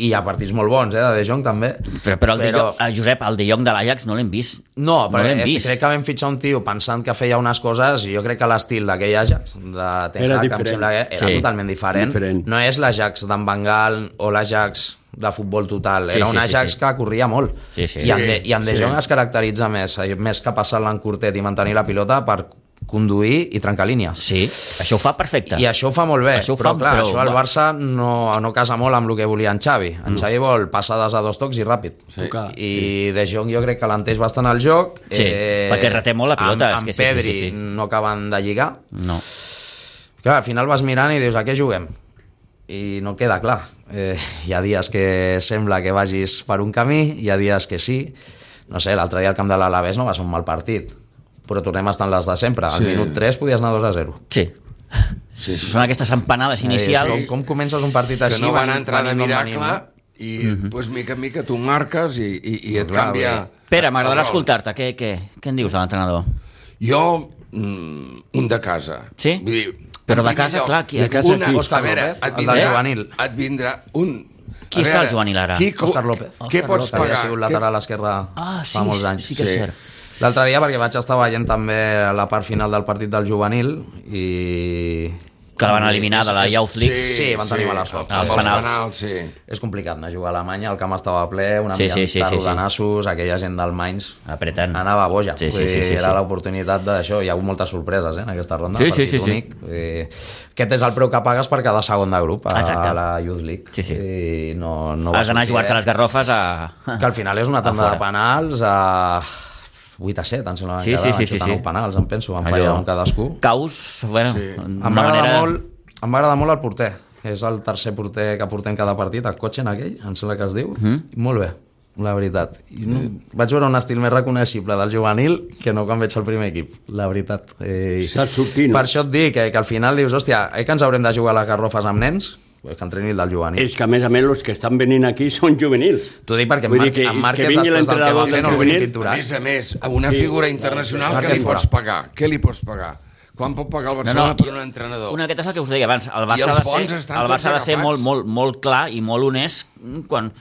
Speaker 4: I hi ha partits molt bons, eh, de de Jong també.
Speaker 1: Però, però, el, però... De Jong, el Josep, el de Jong de l'Ajax no l'hem vist. no
Speaker 4: No, però
Speaker 1: l'hem
Speaker 4: eh,
Speaker 1: vist.
Speaker 4: crec que vam fitxar un tio pensant que feia unes coses i jo crec que l'estil d'aquell Ajax de Ten
Speaker 3: Era
Speaker 4: Hag, em
Speaker 3: diferent.
Speaker 4: sembla que era
Speaker 1: Sí.
Speaker 4: totalment diferent.
Speaker 3: Diferent.
Speaker 4: No és l'Ajax d'en Bengal o l'Ajax de futbol total,
Speaker 1: Sí,
Speaker 4: era
Speaker 1: sí,
Speaker 4: un
Speaker 1: sí,
Speaker 4: Ajax
Speaker 1: sí.
Speaker 4: que corria molt
Speaker 1: Sí, sí.
Speaker 4: i en De,
Speaker 2: Sí,
Speaker 4: i en de
Speaker 2: sí.
Speaker 4: Jong es caracteritza més eh, més que passar-la en curtet i mantenir la pilota per conduir i trencar línies
Speaker 1: Sí, això ho fa perfecte.
Speaker 4: i això ho fa molt bé,
Speaker 1: Això ho
Speaker 4: però
Speaker 1: fa,
Speaker 4: clar,
Speaker 1: però-
Speaker 4: això al Barça no, no casa molt amb el que volia en Xavi. En Xavi vol passades a dos tocs i ràpid.
Speaker 2: Sí.
Speaker 3: Clar.
Speaker 4: Eh, I De Jong jo crec que l'entès bastant al joc. eh,
Speaker 1: Sí, perquè reté molt la pilota, és
Speaker 4: Amb, amb
Speaker 1: que sí, sí,
Speaker 4: Pedri
Speaker 1: sí, sí.
Speaker 4: no acaben de lligar.
Speaker 1: No.
Speaker 4: Clar, al final vas mirant i dius, a què juguem? I no queda clar. Eh, hi ha dies que sembla que vagis per un camí, hi ha dies que sí. No sé, l'altre dia al camp de l'Alavés no va ser un mal partit, però tornem a estar en les de sempre. Al
Speaker 2: Sí.
Speaker 4: minut 3 podies anar 2 a 0.
Speaker 1: Sí.
Speaker 2: Sí, sí.
Speaker 1: Són aquestes empanades inicials.
Speaker 4: Eh, Com, com comences un partit així?
Speaker 2: que no van
Speaker 4: venint-
Speaker 2: entrar de
Speaker 4: venint com
Speaker 2: miracle
Speaker 4: venim, no?
Speaker 2: i pues, mica en mica tu marques i, i, i et
Speaker 4: Clar,
Speaker 2: canvia...
Speaker 4: bé.
Speaker 1: Pere, m'agradarà
Speaker 2: el rol.
Speaker 1: escoltar-te. Què, què, què en dius de l'entrenador?
Speaker 2: Jo, mm, un de casa.
Speaker 1: Sí?
Speaker 2: Vull dir,
Speaker 1: Però
Speaker 2: en
Speaker 1: de
Speaker 2: primer
Speaker 1: casa, clar, qui-
Speaker 3: De casa qui?
Speaker 2: a
Speaker 4: Òscar
Speaker 2: veure,
Speaker 4: López,
Speaker 2: et
Speaker 4: el
Speaker 2: vindrà,
Speaker 4: del juvenil.
Speaker 2: Et vindrà un...
Speaker 1: Qui
Speaker 2: a
Speaker 1: està al juvenil ara?
Speaker 2: Qui,
Speaker 4: Òscar López.
Speaker 2: Què
Speaker 1: Òscar
Speaker 2: pots
Speaker 1: López.
Speaker 4: Que havia
Speaker 2: pagar?
Speaker 4: sigut lateral esquerre
Speaker 1: Ah, sí,
Speaker 4: fa molts anys.
Speaker 1: sí que és
Speaker 2: Sí.
Speaker 1: cert.
Speaker 4: L'altre dia, perquè vaig estar veient també la part final del partit del juvenil i...
Speaker 1: Que la van eliminar de la
Speaker 4: És- és-
Speaker 1: Youth League. Ah,
Speaker 4: Sí, Ah, van tenir mala sort.
Speaker 1: Els
Speaker 2: Els
Speaker 1: penals.
Speaker 2: penals. penals, sí.
Speaker 4: És complicat anar a jugar a Alemanya, el camp estava ple, una
Speaker 1: Sí,
Speaker 4: sí,
Speaker 1: sí,
Speaker 4: sí,
Speaker 1: sí, sí, sí.
Speaker 4: rodanassos, aquella gent del Mainz
Speaker 1: Apretant.
Speaker 4: anava boja.
Speaker 1: Sí, sí,
Speaker 4: Vull
Speaker 1: sí,
Speaker 4: dir,
Speaker 1: sí,
Speaker 4: era
Speaker 1: sí.
Speaker 4: l'oportunitat d'això. Hi ha hagut moltes sorpreses eh, en aquesta ronda.
Speaker 1: Sí, sí,
Speaker 4: partit
Speaker 1: sí, sí.
Speaker 4: únic. Eh, aquest és el preu que pagues per quedar segon de grup a,
Speaker 1: Exacte.
Speaker 4: a la Youth League.
Speaker 1: Sí, sí.
Speaker 4: I no, no va
Speaker 1: Has d'anar a
Speaker 4: sortir,
Speaker 1: jugar-te
Speaker 4: eh?
Speaker 1: les garrofes a...
Speaker 4: que al final és una
Speaker 1: Ah,
Speaker 4: tanda de penals a 8 a 7, em sembla
Speaker 1: Sí,
Speaker 4: que
Speaker 1: sí,
Speaker 4: van
Speaker 1: sí,
Speaker 4: xutar
Speaker 1: sí, sí.
Speaker 4: nou penals, em penso, van
Speaker 1: Allò.
Speaker 4: fallar un cadascú.
Speaker 1: Caus, bueno,
Speaker 2: Sí.
Speaker 1: d'una
Speaker 4: Em va, agradar
Speaker 1: manera...
Speaker 4: molt, em va agradar molt el porter, que és el tercer porter que portem cada partit, el cotxe en aquell, em sembla que es diu,
Speaker 1: Mhm.
Speaker 4: mm. molt bé, la veritat. I no, vaig veure un estil més reconeixible del juvenil que no quan veig el primer equip, la veritat. Eh,
Speaker 3: S'ha sortit, no?
Speaker 4: Per això et dic, eh, que al final dius, hòstia, eh, que ens haurem de jugar a les garrofes amb nens? Pues que entreni el del juvenil.
Speaker 3: És que, a més a més, els que estan venint aquí són juvenils.
Speaker 4: T'ho dic perquè en
Speaker 3: Vull dir
Speaker 4: Marc,
Speaker 3: que-
Speaker 4: en Marc
Speaker 3: que vingui
Speaker 4: després del que va
Speaker 3: l'entrenador
Speaker 4: fer
Speaker 3: del
Speaker 4: no el vull
Speaker 3: juvenil,
Speaker 2: A
Speaker 4: titular.
Speaker 2: més a més, a una figura internacional
Speaker 4: clar
Speaker 2: que
Speaker 4: que
Speaker 2: li
Speaker 4: fora.
Speaker 2: pots pagar. Què li pots pagar? Quan pot pagar el Barcelona per un entrenador?
Speaker 1: Una d'aquestes és el que us deia abans. El
Speaker 2: I
Speaker 1: Barça
Speaker 2: els
Speaker 1: ha de
Speaker 2: bons
Speaker 1: ser,
Speaker 2: estan
Speaker 1: el Barça ha de
Speaker 2: tots
Speaker 1: ser molt,
Speaker 2: agafats.
Speaker 1: molt, molt clar i molt honest quan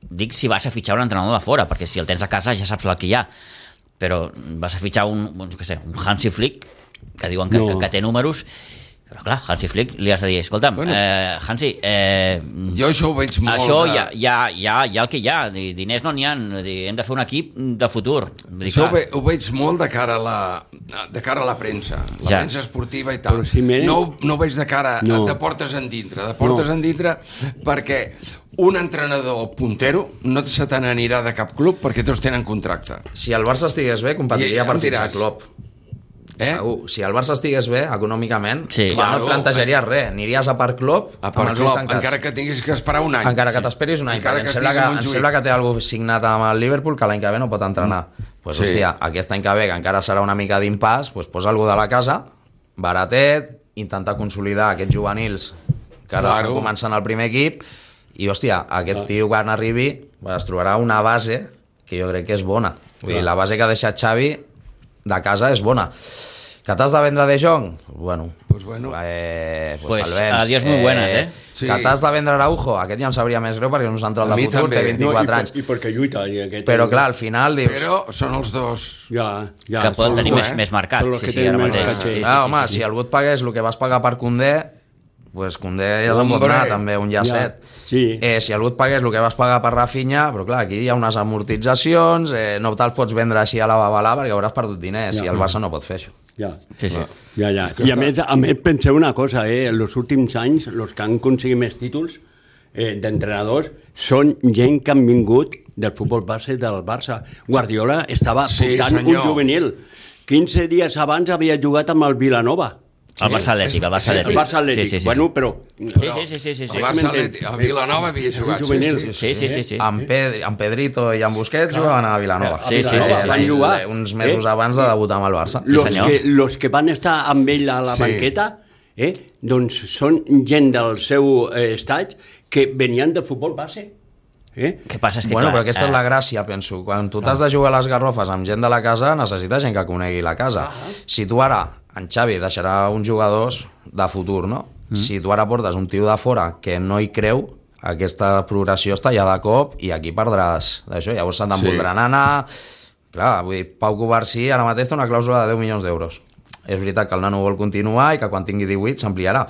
Speaker 1: dic si vas a fitxar un entrenador de fora, perquè si el tens a casa ja saps el que hi ha. Però vas a fitxar un, un, jo què sé, un Hansi Flick, que diuen que,
Speaker 3: No.
Speaker 1: no. que, que té números, però clar, Hansi Flick li has de dir, escolta'm, bueno.
Speaker 2: Bueno.
Speaker 1: eh, Hansi, eh,
Speaker 2: Jo això ho veig molt...
Speaker 1: això
Speaker 2: de...
Speaker 1: ja, ja, ja, ja el que hi ha, di- diners no n'hi ha, vull dir, hem de fer un equip de futur. Vull dir,
Speaker 2: Això ho,
Speaker 1: clar,
Speaker 2: ve, ho veig molt de cara a la, de cara a la premsa, la
Speaker 1: Ja.
Speaker 2: ja. premsa esportiva i tal.
Speaker 3: Però si miren-
Speaker 2: No, ho- no ho veig de cara no.
Speaker 3: No.
Speaker 2: de portes endintre, de portes
Speaker 3: No.
Speaker 2: no. endintre perquè un entrenador puntero no se te n'anirà de cap club perquè tots tenen contracte.
Speaker 4: Si el Barça estigués bé, competiria
Speaker 2: I
Speaker 4: per
Speaker 2: em
Speaker 4: fitxar
Speaker 2: diràs.
Speaker 4: Klopp.
Speaker 2: Eh?
Speaker 4: Eh? Segur. Si el Barça estigués bé, econòmicament,
Speaker 1: Sí.
Speaker 4: sí. ja no
Speaker 2: Claro. eh?
Speaker 4: et plantejaries res. Aniries a per Klopp,
Speaker 2: A part,
Speaker 4: ulls
Speaker 2: Klopp, encara que tinguis que esperar un any.
Speaker 4: encara que t'esperis un any,
Speaker 2: Encara
Speaker 4: perquè em
Speaker 2: que
Speaker 4: sembla que,
Speaker 2: estiguis en
Speaker 4: em
Speaker 2: Montjuïc.
Speaker 4: sembla que té algú signat amb el Liverpool que l'any que ve no pot entrenar. Pues,
Speaker 2: Mm. Sí.
Speaker 4: sí. hòstia, aquest any que ve, que encara serà una mica d'impàs, pues, posa algú de la casa, baratet, intentar consolidar aquests juvenils que ara
Speaker 2: Claro. Ah.
Speaker 4: estan començant el primer equip, i, hòstia, aquest tio quan arribi es trobarà una base que jo crec que és bona. Vull dir, la base que ha deixat Xavi de casa és bona. Que t'has de vendre De Jong? Bueno,
Speaker 2: Pues bueno.
Speaker 4: eh, pues,
Speaker 1: Pues,
Speaker 4: te'l vens.
Speaker 1: adiós muy buenas, eh?
Speaker 2: Sí.
Speaker 4: Que t'has de vendre Araujo, aquest ja em sabria més greu perquè no és un
Speaker 2: A
Speaker 4: central de
Speaker 2: mi
Speaker 4: futur,
Speaker 2: també.
Speaker 4: té
Speaker 2: No,
Speaker 4: 24
Speaker 3: i,
Speaker 4: anys.
Speaker 3: per- I perquè lluita. I aquest,
Speaker 4: Però clar, al final dius...
Speaker 2: Però són els dos...
Speaker 3: Ja, ja,
Speaker 1: que poden
Speaker 3: són
Speaker 1: tenir
Speaker 2: eh?
Speaker 3: els
Speaker 1: més,
Speaker 3: dos,
Speaker 1: més mercat.
Speaker 3: Són els
Speaker 1: Sí,
Speaker 3: que
Speaker 1: sí, ara
Speaker 3: tenen més
Speaker 1: mateix.
Speaker 3: caché.
Speaker 1: Sí, sí,
Speaker 4: ah, home, si algú et pagués el que vas pagar per Condé, pues Condé ja se'n pot
Speaker 2: Hombre.
Speaker 4: anar també, un llacet.
Speaker 3: Ja, sí.
Speaker 4: Eh, si algú et pagués el que vas pagar per Rafinha, però clar, aquí hi ha unes amortitzacions, eh, no te'ls pots vendre així a la babalà perquè hauràs perdut diners
Speaker 3: Ja.
Speaker 4: i el Barça no pot fer això.
Speaker 3: Ja.
Speaker 1: Sí, sí.
Speaker 3: Ja, ja. I a més, a més, penseu una cosa, eh? En els últims anys, els que han aconseguit més títols eh, d'entrenadors són gent que han vingut del futbol base del Barça. Guardiola estava
Speaker 2: Sí,
Speaker 3: sí, portant
Speaker 2: senyor.
Speaker 3: un juvenil. 15 dies abans havia jugat amb el Vilanova.
Speaker 1: El Barça Atlètic, el Barça
Speaker 2: Sí,
Speaker 1: Atlètic.
Speaker 3: El Barça Atlètic.
Speaker 1: Sí, sí, sí.
Speaker 3: Bueno, però...
Speaker 1: sí, sí, sí, sí, sí.
Speaker 2: El Barça, Atleti- a Vilanova havia jugat. Sí,
Speaker 3: juvenil.
Speaker 2: sí,
Speaker 1: Sí,
Speaker 2: sí.
Speaker 1: sí, sí, sí.
Speaker 4: Amb, Pedri, amb Pedrito i amb Busquets jugaven a Vilanova.
Speaker 1: Sí, sí, sí, sí,
Speaker 4: Van
Speaker 1: sí.
Speaker 4: jugar uns mesos
Speaker 3: Eh?
Speaker 4: abans de debutar amb el Barça.
Speaker 1: Lo-
Speaker 3: los,
Speaker 1: senyor.
Speaker 3: que, los que van estar amb ell a la
Speaker 2: Sí.
Speaker 3: sí. banqueta eh, doncs són gent del seu eh, estatge que venien del futbol base. Eh?
Speaker 1: Què passa? És que,
Speaker 4: bueno,
Speaker 1: clar, eh,
Speaker 4: però aquesta és la gràcia, penso. Quan tu t'has de jugar a les garrofes amb gent de la casa, necessites gent que conegui la casa. Si tu ara, en Xavi deixarà uns jugadors de futur, no? Si tu ara portes un tio de fora que no hi creu, aquesta progressió està ja de cop i aquí perdràs d'això. Llavors se'n voldran anar... Clar, vull dir, Pau Covarsí ara mateix té una clàusula de 10 milions d'euros. És veritat que el nano vol continuar i que quan tingui 18 s'ampliarà.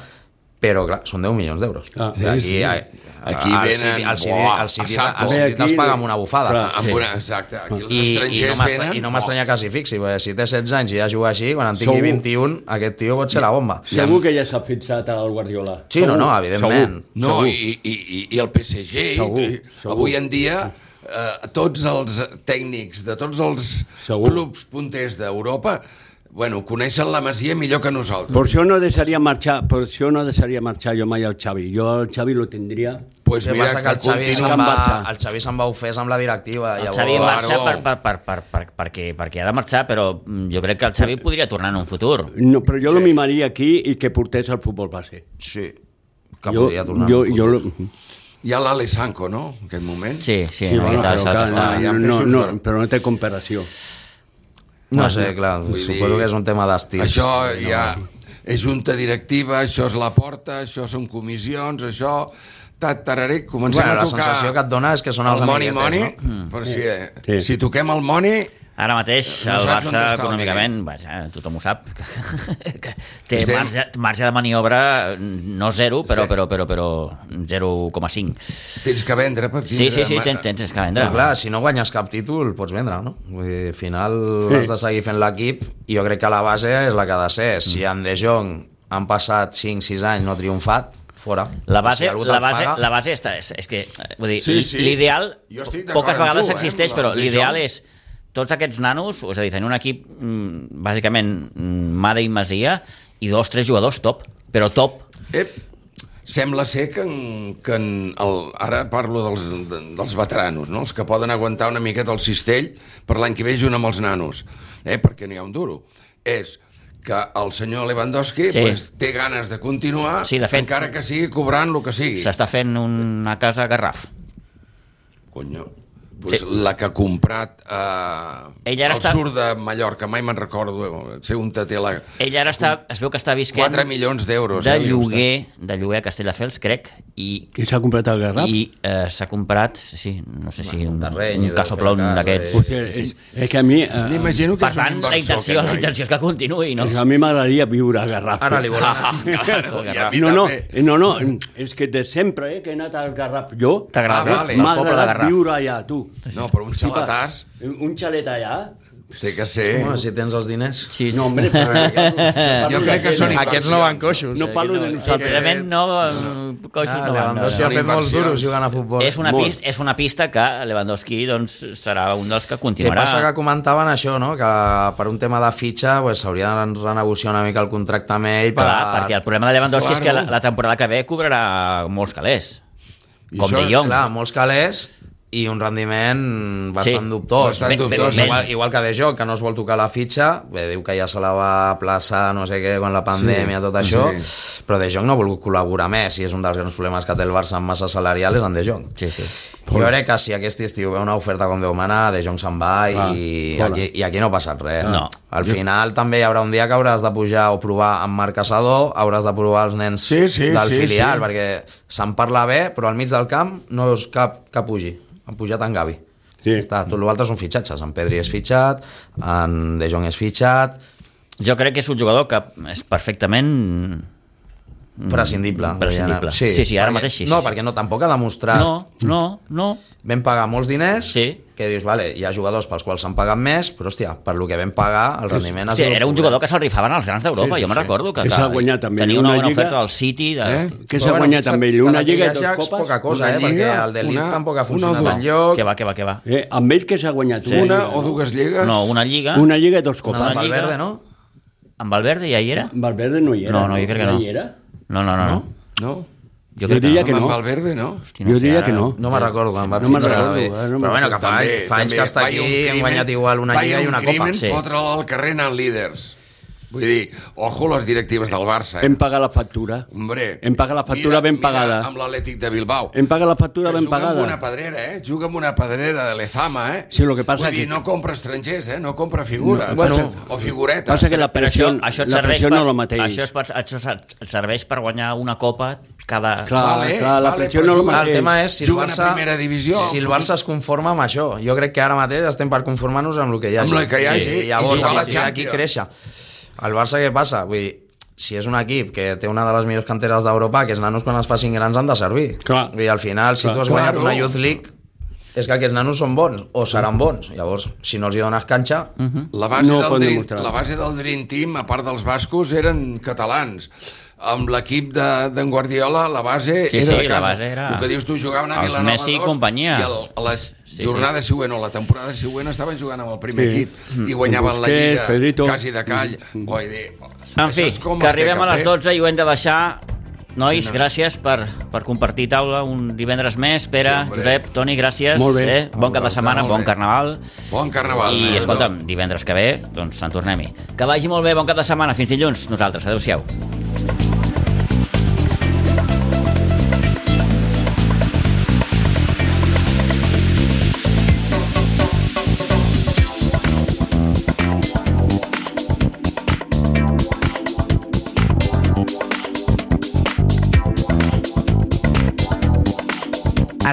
Speaker 4: Però, clar, són 10 milions d'euros.
Speaker 3: Ah.
Speaker 2: Sí, sí. Aquí
Speaker 4: al
Speaker 2: venen,
Speaker 4: City- al City-
Speaker 2: buah,
Speaker 4: al
Speaker 2: a
Speaker 4: City-
Speaker 2: saco.
Speaker 4: al City
Speaker 3: Bé,
Speaker 4: te'ls
Speaker 3: aquí-
Speaker 4: paga amb una bufada.
Speaker 3: Clar.
Speaker 2: Amb una, exacte, aquí els
Speaker 4: I, i no
Speaker 2: estrangers
Speaker 4: m'estra-
Speaker 2: venen...
Speaker 4: i no m'estranya que s'hi fixi, perquè si té 16 anys i ja juga així, quan en tingui
Speaker 3: Segur.
Speaker 4: 21, aquest tio pot ser la bomba.
Speaker 3: Segur que ja s'ha fixat al Guardiola.
Speaker 4: Sí, no, no, evidentment.
Speaker 3: Segur.
Speaker 2: No, i, i, i- i el PSG,
Speaker 3: Segur,
Speaker 2: i,
Speaker 3: segur.
Speaker 2: avui en dia, eh, tots els tècnics de tots els
Speaker 3: Segur.
Speaker 2: clubs punters d'Europa bueno, coneixen la Masia millor que nosaltres.
Speaker 3: Per això no deixaria marxar, per això no deixaria marxar jo mai el Xavi. Jo el Xavi lo tindria...
Speaker 2: pues
Speaker 4: El que
Speaker 2: mira,
Speaker 4: passa que el Xavi,
Speaker 2: continua-
Speaker 4: se'n
Speaker 3: amb
Speaker 4: va,
Speaker 3: Barça.
Speaker 4: el Xavi se'n va ofès amb la directiva.
Speaker 1: El
Speaker 4: llavors-
Speaker 1: Xavi
Speaker 2: Claro.
Speaker 1: marxa per, per, per, per, per, perquè, perquè ha de marxar, però mm, jo crec que el Xavi podria tornar en un futur.
Speaker 3: No, però jo sí. lo mimaria aquí i que portés al futbol base.
Speaker 4: Sí, que
Speaker 3: jo,
Speaker 4: podria tornar.
Speaker 3: jo,
Speaker 4: en un
Speaker 3: jo,
Speaker 4: futur.
Speaker 3: lo...
Speaker 2: Hi ha l'Alessanco, no?, en aquest moment.
Speaker 1: Sí, sí, sí bueno,
Speaker 3: però,
Speaker 1: veritat,
Speaker 3: clar,
Speaker 1: clar, està...
Speaker 2: hi ha
Speaker 3: no,
Speaker 2: peixos,
Speaker 3: no,
Speaker 2: eh?
Speaker 3: però no té comparació.
Speaker 4: No sé, clar, suposo que és un tema d'estil.
Speaker 2: Això ja és junta directiva, això és la porta, això són comissions, això... Tat, tararé, comencem
Speaker 4: Bueno,
Speaker 2: a
Speaker 4: la
Speaker 2: tocar...
Speaker 4: sensació que et dona és que són els
Speaker 2: el Moni Moni,
Speaker 4: amiguetes,
Speaker 2: no?
Speaker 4: Mm.
Speaker 2: per si, eh,
Speaker 3: Sí.
Speaker 2: si toquem el Moni,
Speaker 1: Ara mateix
Speaker 2: No
Speaker 1: el
Speaker 2: saps on
Speaker 1: Barça
Speaker 2: està el
Speaker 1: econòmicament, vaja, tothom ho sap, que, que té
Speaker 2: Estem-
Speaker 1: marge, marge de maniobra no zero, però,
Speaker 2: Sí.
Speaker 1: però, però, però 0,5.
Speaker 2: tens que vendre per
Speaker 1: Sí,
Speaker 2: tindre...
Speaker 1: sí, sí,
Speaker 2: ma-
Speaker 1: tens, tens que vendre.
Speaker 4: Però clar, si no guanyes cap títol, pots vendre, no? Vull dir, al final sí. has de seguir fent l'equip i jo crec que la base és la que ha de ser. Si
Speaker 1: Mm.
Speaker 4: en De Jong han passat 5-6 anys no ha triomfat, fora.
Speaker 1: La base,
Speaker 4: si algú te'l
Speaker 1: la base,
Speaker 4: paga,
Speaker 1: la base està, és, és que, eh, vull dir, sí,
Speaker 2: Sí, sí.
Speaker 1: sí. l'ideal,
Speaker 2: Jo estic d'acord
Speaker 1: poques
Speaker 2: amb
Speaker 1: vegades
Speaker 2: tu, eh,
Speaker 1: existeix,
Speaker 2: amb
Speaker 1: però
Speaker 2: la
Speaker 1: l'ideal
Speaker 2: visió.
Speaker 1: és tots aquests nanos, és a dir, tenir un equip mm, bàsicament mm, Mare i Masia i dos, tres jugadors top, però top.
Speaker 2: Ep, Sembla ser que, en, que en el, ara parlo dels, de, dels veteranos, no? els que poden aguantar una miqueta el cistell per l'any que ve junt amb els nanos, eh? perquè n'hi ha un duro. És que el senyor
Speaker 1: Sí.
Speaker 2: Lewandowski sí. pues, té ganes de continuar,
Speaker 1: Sí, de fet-
Speaker 2: encara que sigui cobrant el que sigui.
Speaker 1: S'està fent una casa a Garraf.
Speaker 2: Conyo. Pues
Speaker 1: Sí.
Speaker 2: La que ha comprat eh,
Speaker 1: Ell ara
Speaker 2: el
Speaker 1: està-
Speaker 2: sur de Mallorca, mai me'n recordo, ser un taté la...
Speaker 1: Ell ara està, es veu que està visquent
Speaker 2: 4 milions d'euros.
Speaker 1: de
Speaker 2: eh, li costa.
Speaker 1: lloguer, de lloguer a Castelldefels, crec, i
Speaker 5: I s'ha comprat el Garraf?
Speaker 1: i eh, s'ha comprat, sí, no sé si un,
Speaker 4: terreny,
Speaker 1: un
Speaker 4: deu
Speaker 1: casoplon
Speaker 4: fer casa,
Speaker 1: d'aquests.
Speaker 4: eh,
Speaker 5: Hòstia, és, és que a mi... Eh,
Speaker 2: M'imagino que
Speaker 1: Per
Speaker 2: és un
Speaker 1: tant,
Speaker 2: inversor.
Speaker 1: la intenció,
Speaker 2: aquest
Speaker 1: la
Speaker 2: noi.
Speaker 1: intenció és que continuï, no?
Speaker 5: a mi m'agradaria viure a Garraf.
Speaker 4: Ara li volen...
Speaker 1: El Garraf.
Speaker 5: No, no,
Speaker 2: també.
Speaker 5: no, no, és que de sempre eh, que he anat al Garraf jo,
Speaker 1: T'agrada,
Speaker 2: Ah,
Speaker 3: eh,
Speaker 2: vale.
Speaker 5: m'ha
Speaker 1: el poble de
Speaker 5: agradat
Speaker 1: Garraf.
Speaker 5: viure allà, tu.
Speaker 2: No, però un sabatàs
Speaker 5: Un xalet allà...
Speaker 2: té que ser...
Speaker 4: Bueno, si tens els diners...
Speaker 1: Sí, sí.
Speaker 5: No, hombre, però...
Speaker 3: eh,
Speaker 2: Jo crec que són
Speaker 6: Aquests no van coixos.
Speaker 5: No parlo de nosaltres.
Speaker 1: Precisament no, eh, coixos
Speaker 4: eh? Ah,
Speaker 1: no van.
Speaker 4: Lewandowski
Speaker 1: No.
Speaker 4: ha fet molts
Speaker 2: Inversions.
Speaker 4: duros jugant a futbol.
Speaker 1: És una,
Speaker 5: Molt.
Speaker 1: pista, és una pista que Lewandowski doncs, serà un dels que
Speaker 4: Què
Speaker 1: continuarà.
Speaker 4: passa que comentaven això, no? que per un tema de fitxa pues, s'hauria de renegociar una mica el contracte amb ell per...
Speaker 1: Clar, perquè el problema de Lewandowski és que la,
Speaker 2: Claro.
Speaker 1: la temporada que ve cobrarà molts calés.
Speaker 2: I
Speaker 1: Com
Speaker 2: això,
Speaker 1: de Jong.
Speaker 4: Clar, molts calés i un rendiment bastant
Speaker 1: Sí.
Speaker 4: dubtós.
Speaker 2: Bastant
Speaker 4: Bé, bé,
Speaker 2: dubtós.
Speaker 4: bé, Igual, igual que De Jong, que no es vol tocar la fitxa, bé, diu que ja se la va plaçar, no sé què, quan la pandèmia,
Speaker 2: Sí,
Speaker 4: tot això,
Speaker 2: sí.
Speaker 4: però De Jong no ha volgut col·laborar més i és un dels grans problemes que té el Barça amb massa salarial és en De Jong.
Speaker 1: Sí, sí.
Speaker 4: Jo crec que si aquest estiu ve una oferta com Déu mana, De Jong se'n va i,
Speaker 5: Clar,
Speaker 4: aquí, i aquí no ha passat res.
Speaker 1: Ah, No.
Speaker 4: Al final també hi haurà un dia que hauràs de pujar o provar amb Marc Casador, hauràs de provar els nens
Speaker 2: Sí, sí,
Speaker 4: del
Speaker 2: sí,
Speaker 4: filial,
Speaker 2: sí.
Speaker 4: perquè se'n parla bé, però al mig del camp no veus cap que pugi. Han pujat en Gavi.
Speaker 5: Sí.
Speaker 4: Està, tot l'altre són fitxatges. En Pedri és fitxat, en De Jong és fitxat,
Speaker 1: Jo crec que és un jugador que és perfectament...
Speaker 4: prescindible.
Speaker 1: Mm. Prescindible. Sí, sí, ara
Speaker 4: perquè-
Speaker 1: mateix sí, sí,
Speaker 4: No,
Speaker 1: sí.
Speaker 4: perquè no, tampoc ha demostrat...
Speaker 1: No, no, no.
Speaker 4: vam pagar molts diners,
Speaker 1: Sí.
Speaker 4: que dius, vale, hi ha jugadors pels quals s'han pagat més, però hòstia, per lo que vam pagar, el rendiment... ha
Speaker 1: Hòstia,
Speaker 4: sigut
Speaker 1: era un
Speaker 4: pobret.
Speaker 1: jugador que se'l rifaven als grans d'Europa,
Speaker 5: Sí, sí,
Speaker 1: jo me'n
Speaker 5: sí.
Speaker 1: recordo que,
Speaker 5: Que s'ha guanyat també
Speaker 1: tenia
Speaker 5: una
Speaker 1: una bona
Speaker 5: lliga.
Speaker 1: oferta del City de...
Speaker 2: Eh?
Speaker 5: Que
Speaker 4: Però
Speaker 5: s'ha guanyat
Speaker 4: fixa't
Speaker 5: amb ell
Speaker 4: que
Speaker 5: una
Speaker 4: la
Speaker 5: lliga i
Speaker 4: Lliga
Speaker 5: dos
Speaker 4: Ajax,
Speaker 5: copes.
Speaker 4: Poca cosa,
Speaker 2: Una
Speaker 4: eh,
Speaker 2: lliga,
Speaker 4: perquè el de Lip
Speaker 2: una-
Speaker 4: tampoc ha
Speaker 2: una
Speaker 4: funcionat
Speaker 2: o
Speaker 4: no.
Speaker 2: dues.
Speaker 4: enlloc.
Speaker 1: Que va, que va, que va.
Speaker 5: Eh, amb ell que s'ha guanyat
Speaker 1: Sí.
Speaker 2: Una
Speaker 5: lliga,
Speaker 2: o
Speaker 5: no?
Speaker 2: dues lligues...
Speaker 1: No, una lliga.
Speaker 5: Una lliga i dos copes.
Speaker 1: Una
Speaker 4: Amb el
Speaker 1: lliga.
Speaker 4: Verde, no?
Speaker 1: Amb Valverde ja hi era?
Speaker 5: Valverde no hi era.
Speaker 1: No, no, jo crec que no.
Speaker 5: Hi era?
Speaker 1: No, no, no. no.
Speaker 2: No?
Speaker 1: Jo
Speaker 5: Jo
Speaker 1: crec que
Speaker 5: diria
Speaker 1: no.
Speaker 2: Amb
Speaker 5: que no.
Speaker 2: en Valverde, no?
Speaker 1: Hosti, no
Speaker 5: jo
Speaker 1: sé,
Speaker 5: diria
Speaker 1: ara-
Speaker 5: que no.
Speaker 4: No me'n recordo quan va
Speaker 5: No me'n
Speaker 4: fitxar
Speaker 5: recordo,
Speaker 4: Gavi.
Speaker 5: eh, no me'n
Speaker 4: Però bueno, que fa,
Speaker 2: També,
Speaker 4: anys, fa anys
Speaker 2: també,
Speaker 4: que està
Speaker 2: vaya
Speaker 4: aquí
Speaker 2: un
Speaker 4: i hem
Speaker 2: crimen,
Speaker 4: guanyat igual una
Speaker 2: vaya
Speaker 4: lliga i
Speaker 2: un
Speaker 4: una copa.
Speaker 2: crimen
Speaker 1: Sí.
Speaker 2: Fotre'l al carrer anant líders. Vull dir, ojo les directives del Barça. Eh?
Speaker 5: Hem pagat la factura.
Speaker 2: Hombre,
Speaker 5: Hem pagat la factura
Speaker 2: mira,
Speaker 5: ben pagada.
Speaker 2: Mira, amb l'Atlètic de Bilbao.
Speaker 5: Hem pagat la factura ben
Speaker 2: juga amb
Speaker 5: pagada.
Speaker 2: una pedrera, eh? Juga amb una pedrera de l'Ezama, eh?
Speaker 5: Sí, lo que passa
Speaker 2: Vull
Speaker 5: que-
Speaker 2: dir, no compra estrangers, eh? No compra figures.
Speaker 5: No,
Speaker 2: No,
Speaker 5: bueno,
Speaker 2: bueno, o figuretes.
Speaker 5: Passa que la
Speaker 1: Però això,
Speaker 5: pressió,
Speaker 1: això et
Speaker 5: la
Speaker 1: serveix
Speaker 5: pressió
Speaker 1: per,
Speaker 5: no és el mateix.
Speaker 1: Això, és per, això et serveix per guanyar una copa cada...
Speaker 5: Clar,
Speaker 2: Vale,
Speaker 5: clar, la
Speaker 2: vale,
Speaker 5: pressió
Speaker 2: però
Speaker 5: no és el
Speaker 2: juga-
Speaker 4: Clar,
Speaker 5: mateix.
Speaker 4: el tema és si el
Speaker 2: Juguen a
Speaker 4: Barça,
Speaker 2: primera divisió,
Speaker 4: si el
Speaker 2: fotut.
Speaker 4: Barça es conforma amb això. Jo crec que ara mateix estem per conformar-nos amb el que hi hagi.
Speaker 2: Amb el que hi hagi,
Speaker 4: Sí,
Speaker 2: i
Speaker 4: llavors,
Speaker 2: jugar
Speaker 4: a
Speaker 2: a la
Speaker 4: partir d'aquí
Speaker 2: Champions.
Speaker 4: créixer. El Barça què passa? Vull dir, si és un equip que té una de les millors canteres d'Europa, que els nanos quan es facin grans han de servir.
Speaker 5: Clar.
Speaker 4: I al final, si
Speaker 5: Clar.
Speaker 4: tu has guanyat
Speaker 2: Claro.
Speaker 4: una Youth League, és que aquests nanos són bons, o seran bons. Llavors, si no els hi dones canxa...
Speaker 5: Mhm.
Speaker 2: La base,
Speaker 5: No
Speaker 2: no
Speaker 5: ho
Speaker 2: del
Speaker 5: poden
Speaker 2: Dream,
Speaker 5: demostrar.
Speaker 2: la base del Dream Team, a part dels bascos, eren catalans. Amb l'equip de- d'en Guardiola, la base
Speaker 1: Sí,
Speaker 2: era
Speaker 1: sí,
Speaker 2: de
Speaker 1: la
Speaker 2: casa.
Speaker 1: base era-
Speaker 2: El que dius tu, jugaven a
Speaker 1: Els
Speaker 2: Vilanova
Speaker 1: Messi i
Speaker 2: 2,
Speaker 1: companyia.
Speaker 2: I el, a la
Speaker 1: sí.
Speaker 2: jornada següent o la temporada següent estaven jugant amb el primer
Speaker 5: Sí. Mm.
Speaker 2: equip i guanyaven la
Speaker 5: Busquets,
Speaker 2: lliga
Speaker 5: Pedrito. Mm.
Speaker 2: quasi de call. Vull dir,
Speaker 1: En
Speaker 2: això
Speaker 1: fi,
Speaker 2: és com
Speaker 1: que
Speaker 2: es té
Speaker 1: arribem a les
Speaker 2: fer.
Speaker 1: 12 i ho hem de deixar. Nois, gràcies per, per compartir taula un divendres més. Pere,
Speaker 2: Sí, hombre.
Speaker 1: Josep, Toni, gràcies.
Speaker 5: Molt bé.
Speaker 1: Eh? Bon cap de setmana,
Speaker 2: Molt
Speaker 1: bon
Speaker 2: bé.
Speaker 1: carnaval.
Speaker 2: Bon carnaval.
Speaker 1: I,
Speaker 2: Pedro.
Speaker 1: escolta'm, divendres que ve, doncs se'n tornem-hi. Que vagi molt bé, bon cap de setmana. Fins dilluns, nosaltres. Adéu-siau.
Speaker 7: A